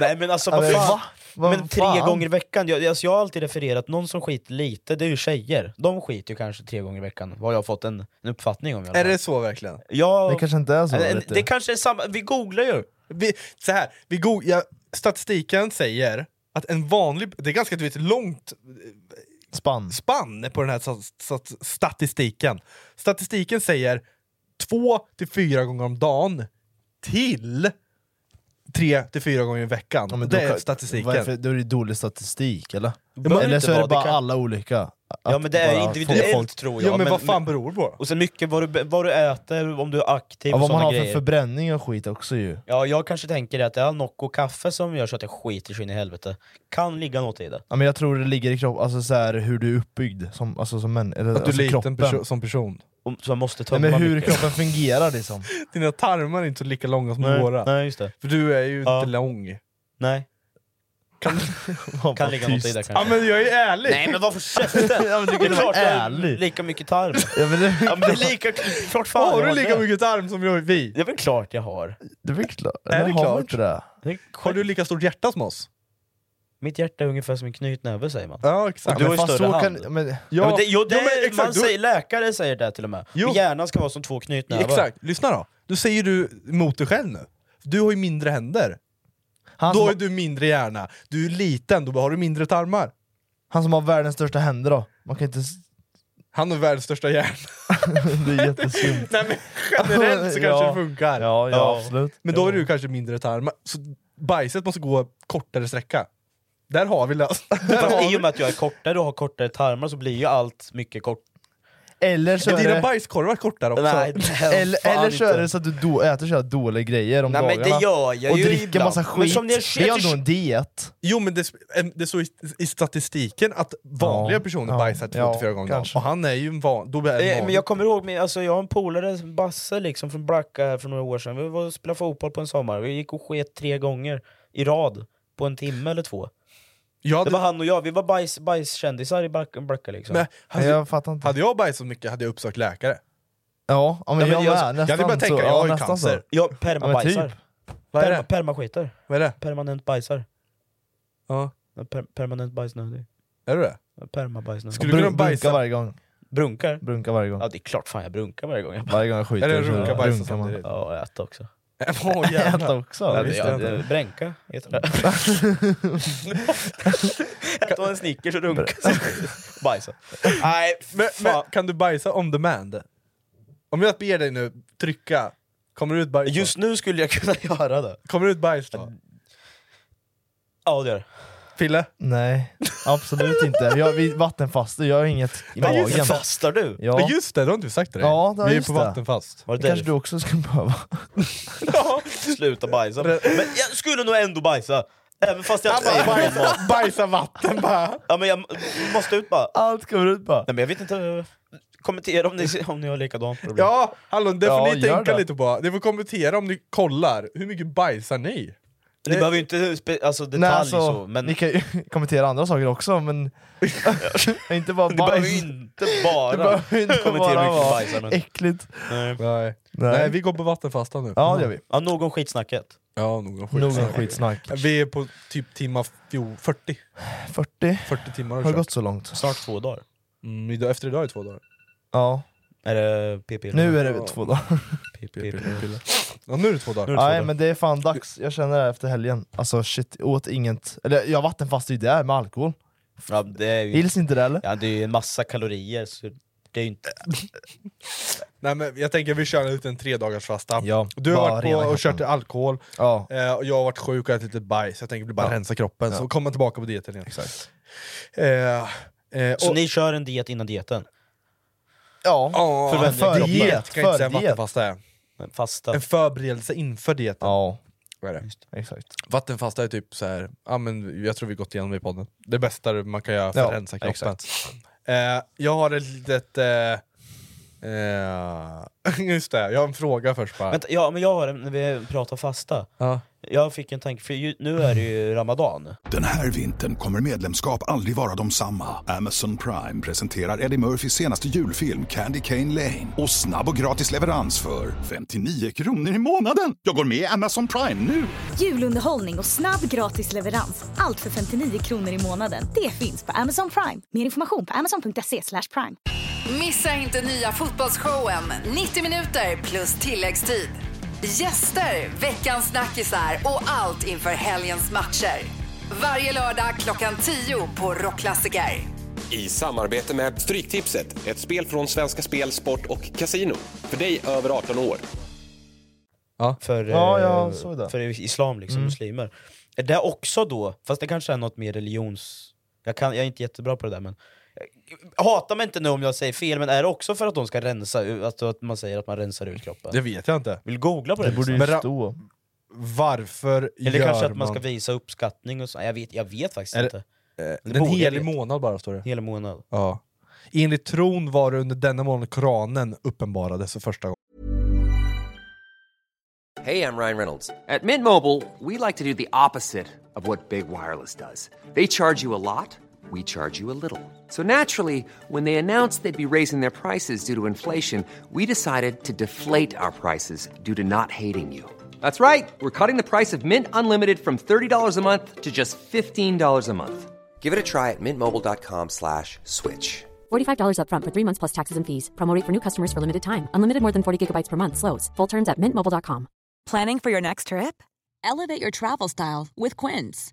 Nej men alltså Ja, vad men fan. va? Vad men tre fan? gånger i veckan, jag, alltså, jag har alltid refererat någon som skiter lite, det är ju tjejer. De skiter ju kanske tre gånger i veckan, vad jag har fått en, en uppfattning om. i (laughs) alla Är fall. det så verkligen? Ja, Det kanske inte är så. en- en- vet du. det kanske är samma, vi googlar ju. Vi, så här, vi go- ja, statistiken säger att en vanlig... Det är ganska du vet, långt Spann. spann på den här sat- sat- statistiken. Statistiken säger två till fyra gånger om dagen till tre till fyra gånger i veckan. Ja, men det då är kan- statistiken. Varför, då är det dålig statistik eller? behöver eller inte så är vara, det bara det kan- alla olika. Att Ja men det är bara individuellt folk- tror jag. ja, men, vad fan beror det Alltså, på? Och sen mycket vad du, vad du äter, om du är aktiv Ja, och vad man sådana har grejer. för förbränning och skit också ju. Ja, jag kanske tänker att det är Nocco kaffe som gör så att jag skiter så in i helvete. Kan ligga något i det. Ja, men jag tror det ligger i kroppen, alltså så här, hur du är uppbyggd som, alltså, som män, eller, Att du alltså, är liten kroppen. perso- som person. Om- Så jag måste Nej, tömma men hur mycket. kroppen fungerar liksom. Dina tarmar är inte lika långa som Nej, våra. nej, just det. För du är ju Ja. inte lång. Nej. Kan, (laughs) Kan ligga något i det ja kanske. men jag är ju ärlig! Nej men varför käften? Ja, men du det kan är ju vara klart jag har ärlig. lika mycket tarm. Ja, men det, Ja, men det är lika klart fan har jag du lika det. mycket tarm som jag, vi? Det är väl klart jag har. det är väl klart. Är det har man klart? inte det? Det är Har klart. du lika stort hjärta som oss? Mitt hjärta är ungefär som en knytnäve säger man. Ja Och exakt. du har ju fast större så hand. kan- men- Ja, men det, jo, det, Jo, men exakt, man du- säger, läkare säger det till och med. Jo. Men Hjärnan ska vara som två knytnävar. Exakt, lyssna då. Du säger du emot dig själv nu. Du har ju mindre händer. Han då som är du mindre hjärna. Du är liten, då har du mindre tarmar. Han som har världens största händer då? Man kan inte... Han har världens största hjärna. det är jättesynt. Nej, men generellt så kanske (laughs) Ja. det funkar. Ja, ja, absolut. Men då är Ja. du kanske mindre tarmar. Så bajset måste gå kortare sträcka. Där har vi (laughs) lösningen. (laughs) Fast i och med att jag är kortare och har kortare tarmar så blir ju allt mycket kort. Eller så Men är dina det... bajskorvar är kortare också. (laughs) Nej, nej, eller, fan eller så är det inte. så att du då äter så här dåliga grejer om Nej, men dagarna. det gör jag och ju dricker ibland. massa Men skit. som ni har det är sett- ändå en diet. Jo men det, det står i, i statistiken att vanliga Ja. personer Ja. bajsar två Ja, till fyra gånger om kanske. Och han är ju en van... Då är Eh, en men jag kommer ihåg, min, alltså, jag har en polare, Basse liksom, från Blacka här för några år sedan. Vi var och spelade fotboll på en sommar, vi gick och sket tre gånger i rad på en timme eller två. hade- Det var han och jag, vi var bajs, bajskändisar i Blacka, Blacka liksom. Men hade, jag fattar inte. hade jag bajsat mycket hade jag uppsökt läkare. Ja, ja, men jag med, Jag hade nästan börjat tänka, så. jag har Ja, ju nästan cancer. så. Jag permabajsar. Vad är Perma- det? Permaskiter. Vad är det? Permanent bajsar. Ja. Per, permanent bajsnödig. Är du det? Permabajsnödig. Skulle du kunna Brun- brunka bajsa- varje gång? Brunkar? Brunkar varje gång. Ja det är klart fan jag brunkar varje gång. Varje gång jag skiter Eller så runka runkar bajsa man. samtidigt. Ja, och äta också. (laughs) Åh, jävlar. Äta också? Ja, Ja, det, visst, ja, äta. det, bränka heter det. (laughs) Äta en Snickers och runka samtidigt. Bajsa. Nej, men, men kan du bajsa on demand? Om jag ber dig nu trycka, kommer det ut bajs då? Just nu skulle jag kunna göra det. Kommer det ut bajs då? Ja det gör det. Pille? Nej, absolut inte. Jag, vi vattenfastar, jag har inget i Men magen. just fastar du? Ja. Men just det, det har inte du sagt till dig. Ja, det har Vi är just på det. vattenfast. Det kanske du också skulle (laughs) behöva. Sluta bajsa. Men jag skulle nog ändå bajsa. Även fast jag inte äter någon mat. Bajsa vatten bara. Ja men jag m- måste ut bara. Allt kommer ut bara. Nej men jag vet inte, kommentera om ni, om ni har likadant problem. Ja, hallå, det får Ja, ni gör tänka det. lite på. Ni får kommentera om ni kollar. Hur mycket bajsar ni? Ni behöver ju inte spe, alltså, detalj Nej, alltså, så, men Ni kan ju (laughs) kommentera andra saker också, (laughs) men (laughs) inte bara ni behöver ju bajs. inte (laughs) bara Det behöver ju inte kommentera bara hur mycket vara bajsar. men- äckligt. Nej. Nej. Nej. Nej, vi går på vattenfasta nu. Ja, det gör vi. Ja, nog om skitsnacket. Ja, någon Nog om skitsnack. skitsnack. Vi är på typ timma fjo- 40. 40. 40 timmar Har har det vi gått så långt? Snart två dagar. Mm, idag, efter idag är det två dagar. Ja. Är det PP? Nu är det två dagar. Pille. Ja, nu är det två dagar. Nej men det är fan dags, jag känner det här efter helgen. Alltså shit, jag åt inget... Eller jag vattenfastade ju där med alkohol. Ja, det är ju... Gills inte det eller? Ja, det är ju en massa kalorier, så det är ju inte... Nej, men jag tänker vi kör en liten tre dagars fasta. Ja, du har bara varit på rena och kört kroppen. alkohol, Ja. eh, och jag har varit sjuk och ätit lite bajs. Jag tänker vi bara Ja. rensa kroppen, så Ja. kommer jag tillbaka på dieten igen. Eh, eh, Så och- ni kör en diet innan dieten? Ja, Ja, Förväntar för kroppen. diet. Kan jag inte säga För diet. vattenfasta är. Fasta. En förberedelse inför dieten. Ja, Vad är det? exakt. Vattenfasta är typ så här, ja, men jag tror vi gått igenom det i podden. Det bästa man kan göra för Ja, att rensa kroppen. exakt. Eh, jag har ett litet... Eh, eh, (laughs) just det, jag har en fråga först bara. Vänta, ja, men jag har en, när vi pratar fasta. Ja. Jag fick en tanke, för ju, nu är det ju ramadan. Den här vintern kommer medlemskap aldrig vara de samma. Amazon Prime presenterar Eddie Murphys senaste julfilm Candy Cane Lane. Och snabb och gratis leverans för 59 kronor i månaden. Jag går med i Amazon Prime nu! Julunderhållning och snabb gratis leverans. Allt för 59 kronor i månaden. Det finns på Amazon Prime. Mer information på amazon.se slash prime. Missa inte nya fotbollsshowen 90 minuter plus tilläggstid. Gäster, veckans snackisar och allt inför helgens matcher. Varje lördag klockan 10 på Rockklassiker. I samarbete med Stryktipset, ett spel från Svenska Spel, Sport och Casino. För dig över 18 år. För, Ja, eh, jag såg det. för islam, liksom, Mm. muslimer. Är det också då, fast det kanske är något mer religions... Jag, kan, jag är inte jättebra på det där men... Hata mig inte nu om jag säger fel, men är det också för att de ska rensa ut, att, att man säger att man rensar ut kroppen? Det vet jag inte. Vill googla på det? Det borde ju liksom. stå. Varför Eller gör kanske att man ska man- visa uppskattning och så. Jag vet, jag vet faktiskt Är det- inte. Eh, Det Den borde jag helig veta. månad bara står det. Helig månad. Ja. Enligt tron var det under denna månad Koranen uppenbarades för första gången. Hey, I'm Ryan Reynolds. At Mint Mobile, we like to do the opposite of what Big Wireless does. They charge you a lot, we charge you a little. So naturally, when they announced they'd be raising their prices due to inflation, we decided to deflate our prices due to not hating you. That's right. We're cutting the price of Mint Unlimited from $30 a month to just $15 a month. Give it a try at mintmobile.com slash switch. $45 upfront for three months plus taxes and fees. Promo rate for new customers for limited time. Unlimited more than 40 gigabytes per month. Slows. Full terms at mintmobile.com. Planning for your next trip? Elevate your travel style with Quince.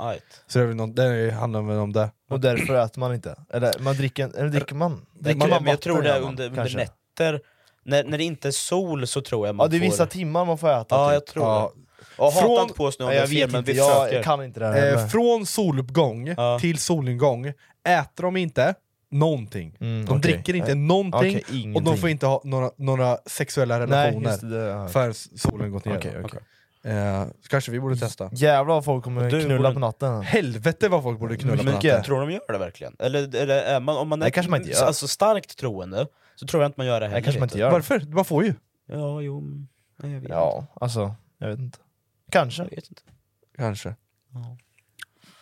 Right. Så det är väl någon, det handlar väl om det. Och därför äter man inte. Eller man dricker, eller dricker man? Dricker man men jag tror vatten det gör är man, under, under kanske. nätter, när, när det inte är sol så tror jag man Ja det är får... vissa timmar man får äta Ja, typ. jag tror det. Jag hatar inte på snö om Nej, det jag är fel, vet men inte, vi jag försöker. kan inte det här Eh, heller. från soluppgång till solnedgång äter de inte någonting. Mm, de okej. dricker inte Eh, någonting okej, och de ingenting. får inte ha några, några sexuella Nej, relationer just det, det har jag hört. förrän solen gått ner. Okej, okej. Eh, så kanske vi borde testa. Jävlar vad folk kommer Du knulla borde- på natten. Helvete vad folk borde knulla på Mycket. natten. Tror de gör det verkligen? Eller, eller är man, om man är Det kanske man inte gör. Alltså starkt troende, så tror jag inte man gör det heller. kanske man inte lite. gör. Varför? Man får ju. Ja, jo. men- Nej, jag vet Ja, alltså, jag vet inte. Kanske. Jag vet inte. Kanske.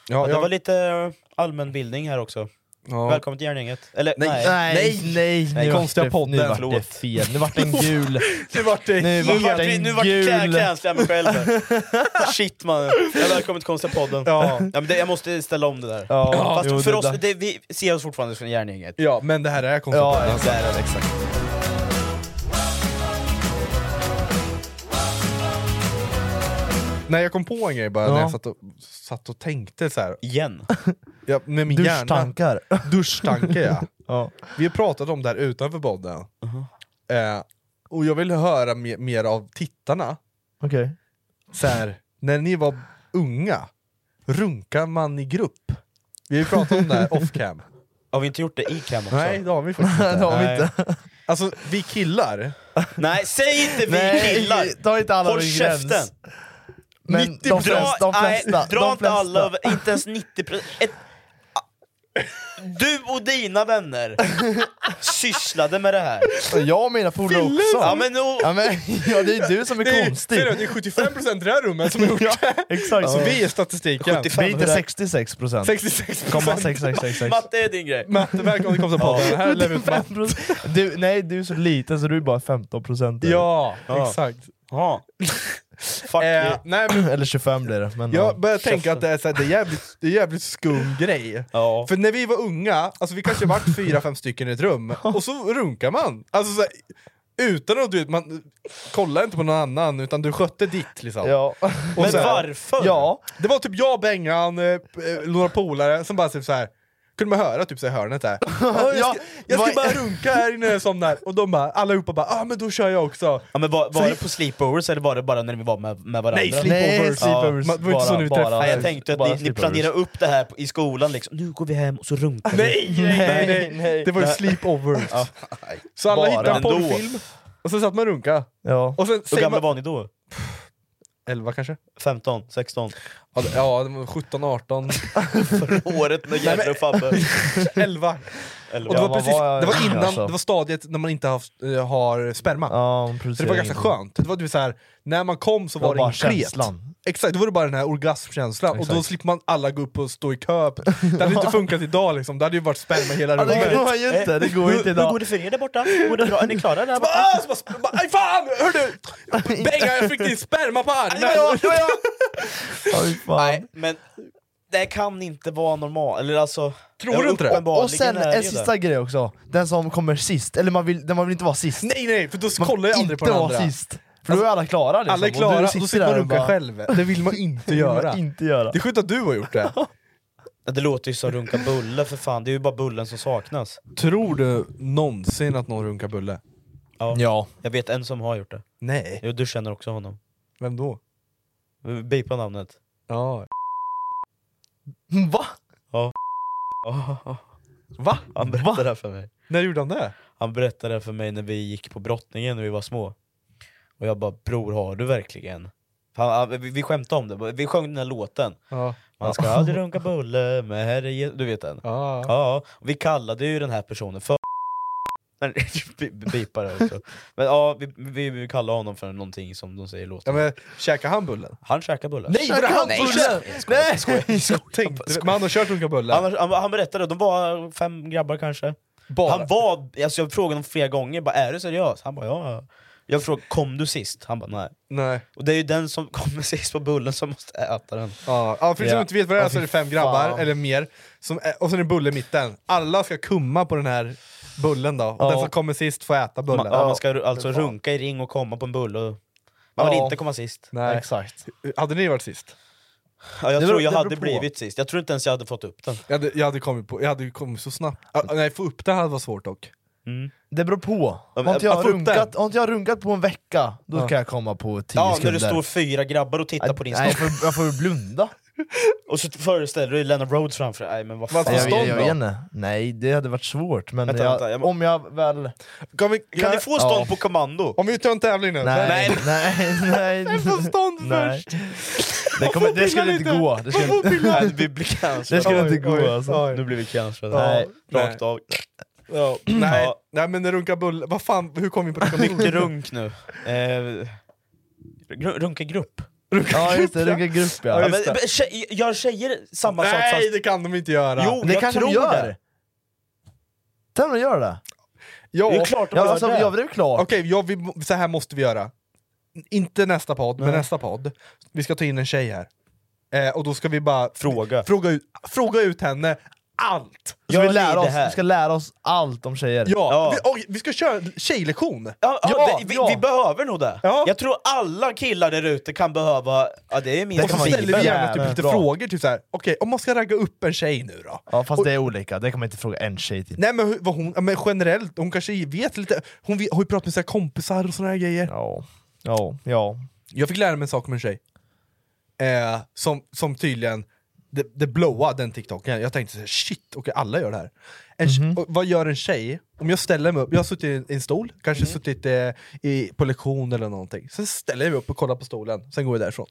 Ja, Det var lite eh, allmänbildning här också. Ja. Välkommen till järngänget. Eller Nej, nej, nej, nej, nu vart det- nu vart det fel. Nu vart det en gul. nu vart det Nu Nu vart vart det vi- en nu vart jag gul. cancellade mig själv. (laughs) här. Shit man. Ja, Välkommen till konstiga podden. Ja. men det, jag måste ställa om det där. Ja, Fast jo, för det oss, där. det, vi ser oss fortfarande från järngänget. Ja, men det här är konstigt. Ja, det här är det, exakt. Nej jag kom på en grej bara när Ja. jag satt och, satt och tänkte så här. Igen? Ja, med min (laughs) Duschtankar. Hjärna. Duschtankar ja. Vi har pratat om det här utanför podden. Eh, och jag vill höra mer, mer av tittarna. Okej. Så här, när ni var unga, runkar man i grupp? Vi har ju pratat om det här off cam. Har vi inte gjort det i cam (laughs) också? Nej det har vi faktiskt (laughs) inte. Det har vi Nej. inte. Alltså vi killar, Nej, säg inte (laughs) vi Nej, killar! ta inte alla Håll över en käften! gräns. Men 90 de flesta- de nej, flesta- dra de inte flesta. alla över, inte ens 90 procent. Du och (laughs) dina vänner sysslade med det här. Jag och mina polare också. Ja, men, och, ja, men, ja, det är du som är Det är- konstig. ser du, det är 75% i det här rummet (laughs) som har gjort det. Exakt. Så vi är statistiken. vi är inte 66 procent. 66%. Matte är din grej. Matte, välkommen till Kompisar podden. Här lägger vi ut matte. Du, nej, du är så liten så du är bara 15 procent. Ja, exakt. (laughs) Eh, Ja. Fuck you. Nej, (clears throat) men, Eller 25 blir det. Men, ja. Jag börjar tänka att det är, så här, det är, jävligt, det är jävligt skum grej. För när vi var unga, alltså vi kanske varit fyra, fem stycken i ett rum, och så runkar man. Alltså så här, utan att du vet, man kollar inte på någon annan, utan du skötte ditt liksom. Ja. (laughs) Men varför? Ja. Det var typ jag, Bengan, eh, eh, några polare som bara typ så här. kunde man höra typ så här i hörnet där. "Ja, jag (laughs) Ja, ska, jag ska vad- bara runka här innan jag somnar. Och de bara, allihopa bara, ah men då kör jag också. Ja, men var, Så var vi- det på sleepovers eller var det bara när vi var med, med varandra? Nej, sleepovers. Nej, sleepovers. Ja. Det var inte så ni träffades. Nej, Jag tänkte att Bara ni, ni sleepovers. planerade upp det här på, i skolan, liksom. nu går vi hem och så runkar vi. Nej, nej, nej, nej. Det var ju sleepovers. Så alla Bara hittade en ändå. porrfilm, och sen satt man och runka. Ja. Och sen Hur säger gamla man- var ni då? 11 kanske? 15, (laughs) 16? Ja, det- Ja, det var 17, (laughs) 18. Året när Gerd (laughs) och Fabbe... 11. Elva. Och det, var Ja, man precis, var- det var innan, alltså. det var stadiet när man inte haft, eh, har sperma. så det var ganska ingenting. skönt. Det var typ så här, när man kom så Det var var det bara en klet. känslan. Exakt, då var det bara den här orgasmkänslan, och då Exakt. slipper man alla gå upp och stå i kö. Det hade inte funkat idag liksom, det hade ju varit sperma i hela Ja, det rummet. går ju inte, det går ju inte idag. Hur går det för er där borta? Går det bra? Är ni (laughs) klara där borta? "Ah!" Aj fan! Hördu! Benga, jag fick din sperma på armen! Nej, men det kan inte vara normalt. Eller alltså... Ja, ja, uppenbarligen Och sen är det ju en sista det. grej också, den som kommer sist, eller man vill, den man vill inte vara sist. Nej nej, för då kollar jag aldrig på inte den vara andra. sist. För då är alla klara liksom. Alla är och du klara, och då sitter sitter man där och och bara- runkar själv. Det vill (laughs) man inte Det vill man göra. inte göra. Det är sjukt att du har gjort det. Ja, Det låter ju som runka bulle för fan, det är ju bara bullen som saknas. (laughs) Tror du någonsin att någon runkar bulle? Ja. ja. Jag vet en som har gjort det. Nej. Jo, du känner också honom. Vem då? Bipa namnet. Ja. Mm, Va? Ja. Va? Han berättade det här för mig. När gjorde han det? Han berättade det för mig när vi gick på brottningen när vi var små. Och jag bara, bror har du verkligen? Han, han, vi, vi skämtade om det, vi sjöng den här låten. Ja. Man ska aldrig runka bulle med herre Je- Du vet den? Ja. ja. Och Vi kallade ju den här personen för Men (laughs) bi- bi- bipa det också. Men ja, vi, vi, vi kallar honom för någonting som de säger i låten. Ja, men, käkar han bullen? Han käkar bullen. Nej, var det han Nej, bullen? jag skojar, jag skojar, (laughs) jag skojar. Tänkte, men han har kört olika bullar. Han, han, han berättade, de var fem grabbar kanske. Han var, alltså jag frågade honom flera gånger, bara, är du seriös? Han bara ja. ja." Jag frågade kom du sist? Han bara nej. nej. Och det är ju den som (laughs) kommer sist på bullen som måste äta den. Ja, ja, för er som Ja. inte vet vad det är Ja, så är det fy fem grabbar, fan. eller mer, som är, och sen är det bulle i mitten. Alla ska kumma på den här bullen då, och Ja. den som kommer sist får äta bullen. Man, ja, man ska ru- alltså runka i ring och komma på en bulle. och- Man vill Ja. inte komma sist. Nej. Exakt. Hade ni varit sist? Ja, jag Det tror beror- jag det hade beror på. blivit sist, jag tror inte ens jag hade fått upp den. Jag hade, jag hade, kommit, på, jag hade ju kommit så snabbt. Ah, nej, få upp det här var svårt dock. Det beror på. men- Har inte jag, att få upp runkat, har inte jag runkat på en vecka, då Ja. kan jag komma på tio Ja, när sekunder. det står fyra grabbar och tittar på din Nej, jag snopp. får, jag får blunda. Och så föreställer du dig Lena Rhodes framför dig. Nej men vad fan. (laughs) Jag, jag, jag, vet inte. Nej, det hade varit svårt. Men Vänta, jag, vänta, jag må- om jag väl... Kan, vi, Kan vi få stånd på kommando? Om vi tar en tävling nu? Nej, (laughs) nej, nej. Jag får (laughs) stånd Nej. först! Det, kommer, det skulle inte gå. Det skulle, (laughs) Nej, vi det blir skulle cancellade. inte gå alltså. Nu blir vi cancellade. Nej. Rakt av. Ja, nej. nej men runka bulle, vad fan, hur kom vi på runka bulle? Mycket runk nu. Eh, gru- runka grupp. Ja just det, runka grupp ja. Ja, men, men tjej, gör tjejer samma sak Nej fast... det kan de inte göra! Jo, det jag kanske de tror gör. det. Kan de göra det? Ja, Det är klart de Ja, gör alltså, det. ja, det är klart. Okej, ja, vi- så här måste vi göra. Inte nästa podd, men nästa podd. Vi ska ta in en tjej här. Eh, och då ska vi bara fråga, fråga, ut, fråga ut henne allt! Så vi, lär oss, vi ska lära oss allt om tjejer. Ja, Vi, oj, vi ska köra en tjejlektion! Ja, ja, Ja, det, vi, ja. vi behöver nog det. Jag tror alla killar där ute kan behöva... Ja, det är min och så ställer vi gärna typ lite bra. frågor, typ såhär, okej om man ska ragga upp en tjej nu då? Ja, fast det är olika, det kan man inte fråga en tjej till. Nej men, hur- vad hon, ja, men generellt, hon kanske vet lite, hon vet, har ju pratat med sina kompisar och såna här grejer. Ja. Ja, ja. Jag fick lära mig en sak om en tjej, eh, som, som tydligen, det, det blowade den tiktoken, jag tänkte så här, shit, okej alla gör det här. En, tje- Mhm. och Vad gör en tjej, om jag ställer mig upp, jag har suttit i en, i en stol, Mhm. kanske suttit eh, i, på lektion eller någonting, sen ställer jag mig upp och kollar på stolen, sen går jag därifrån.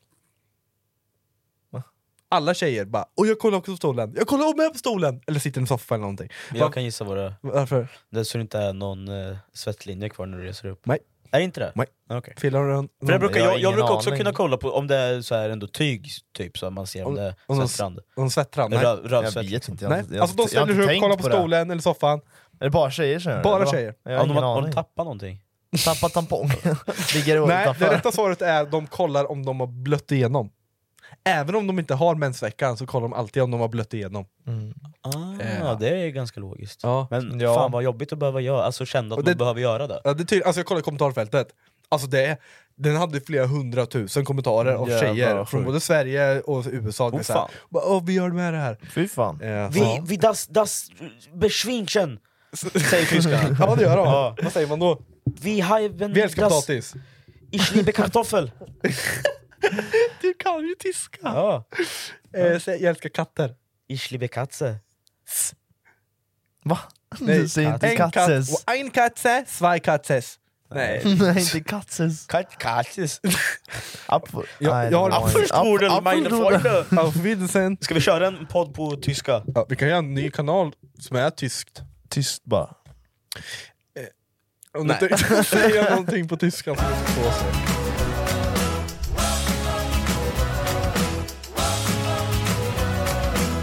Alla tjejer bara och jag kollar också på stolen, jag kollar med på stolen! Eller sitter i en soffa eller någonting. Bara, Jag kan gissa vad det är. Varför? Det är så det inte är någon eh, svettlinje kvar när du reser upp. Nej. Är det inte det? Nej. Okej. Filar du en- För jag brukar, Jag har jag, jag ingen brukar också aning. kunna kolla på om det är så här ändå tyg, typ, så att man ser om, Om- det om är de- svettrand. om svettrand, nej. Röv, rövsvett. Jag vet inte, jag har Nej. inte- jag har Alltså de inte- jag har ställer sig upp, inte tänkt kollar på på det. stolen eller soffan, Är det bara tjejer som gör det, Bara eller vad? tjejer. Jag har Om de, ingen har- om de aning. tappar någonting. Tappa tampong. (laughs) Ligger Nej, utanför. det rätta svaret är de kollar om de har blött igenom. Även om de inte har mensveckan så kollar de alltid om de har blött igenom. Ah, Eh. Det är ganska logiskt. Ja. Men Ja. fan vad jobbigt att behöva göra, alltså känna att Och det- man behöver göra det. Ja, det ty- alltså jag kollade i kommentarfältet, alltså det, den hade flera hundratusen kommentarer av Jävlar, tjejer vad från sjukt. både Sverige och USA. Oh, så här, fan. bara, "Åh, vi gör med det här. Fy fan. Eh, Vi, så- vi das, das beschwinchen, säger (laughs) tyskarna. ja det gör de. Ja. Vad säger man då? Vi haben Vi älskar das potatis. Ich liebe Kartoffel. Du kan ju tyska! (laughs) Ja. Eh, säg, jag älskar katter. Ich liebe Katze. Va? Du säger inte en katt- katzes. och En katze, zwei katzes. Nej. (laughs) Nej, inte katzes. Kat katzes. Apfel. Jag, jag har Apfelstrudel, meine Freunde. Auf Wiedersehen. Ska vi köra en podd på tyska? Ja, vi kan göra en ny kanal som är tyskt. Tyst bara. Om du inte (laughs) säger någonting på tyska så ska det stå så.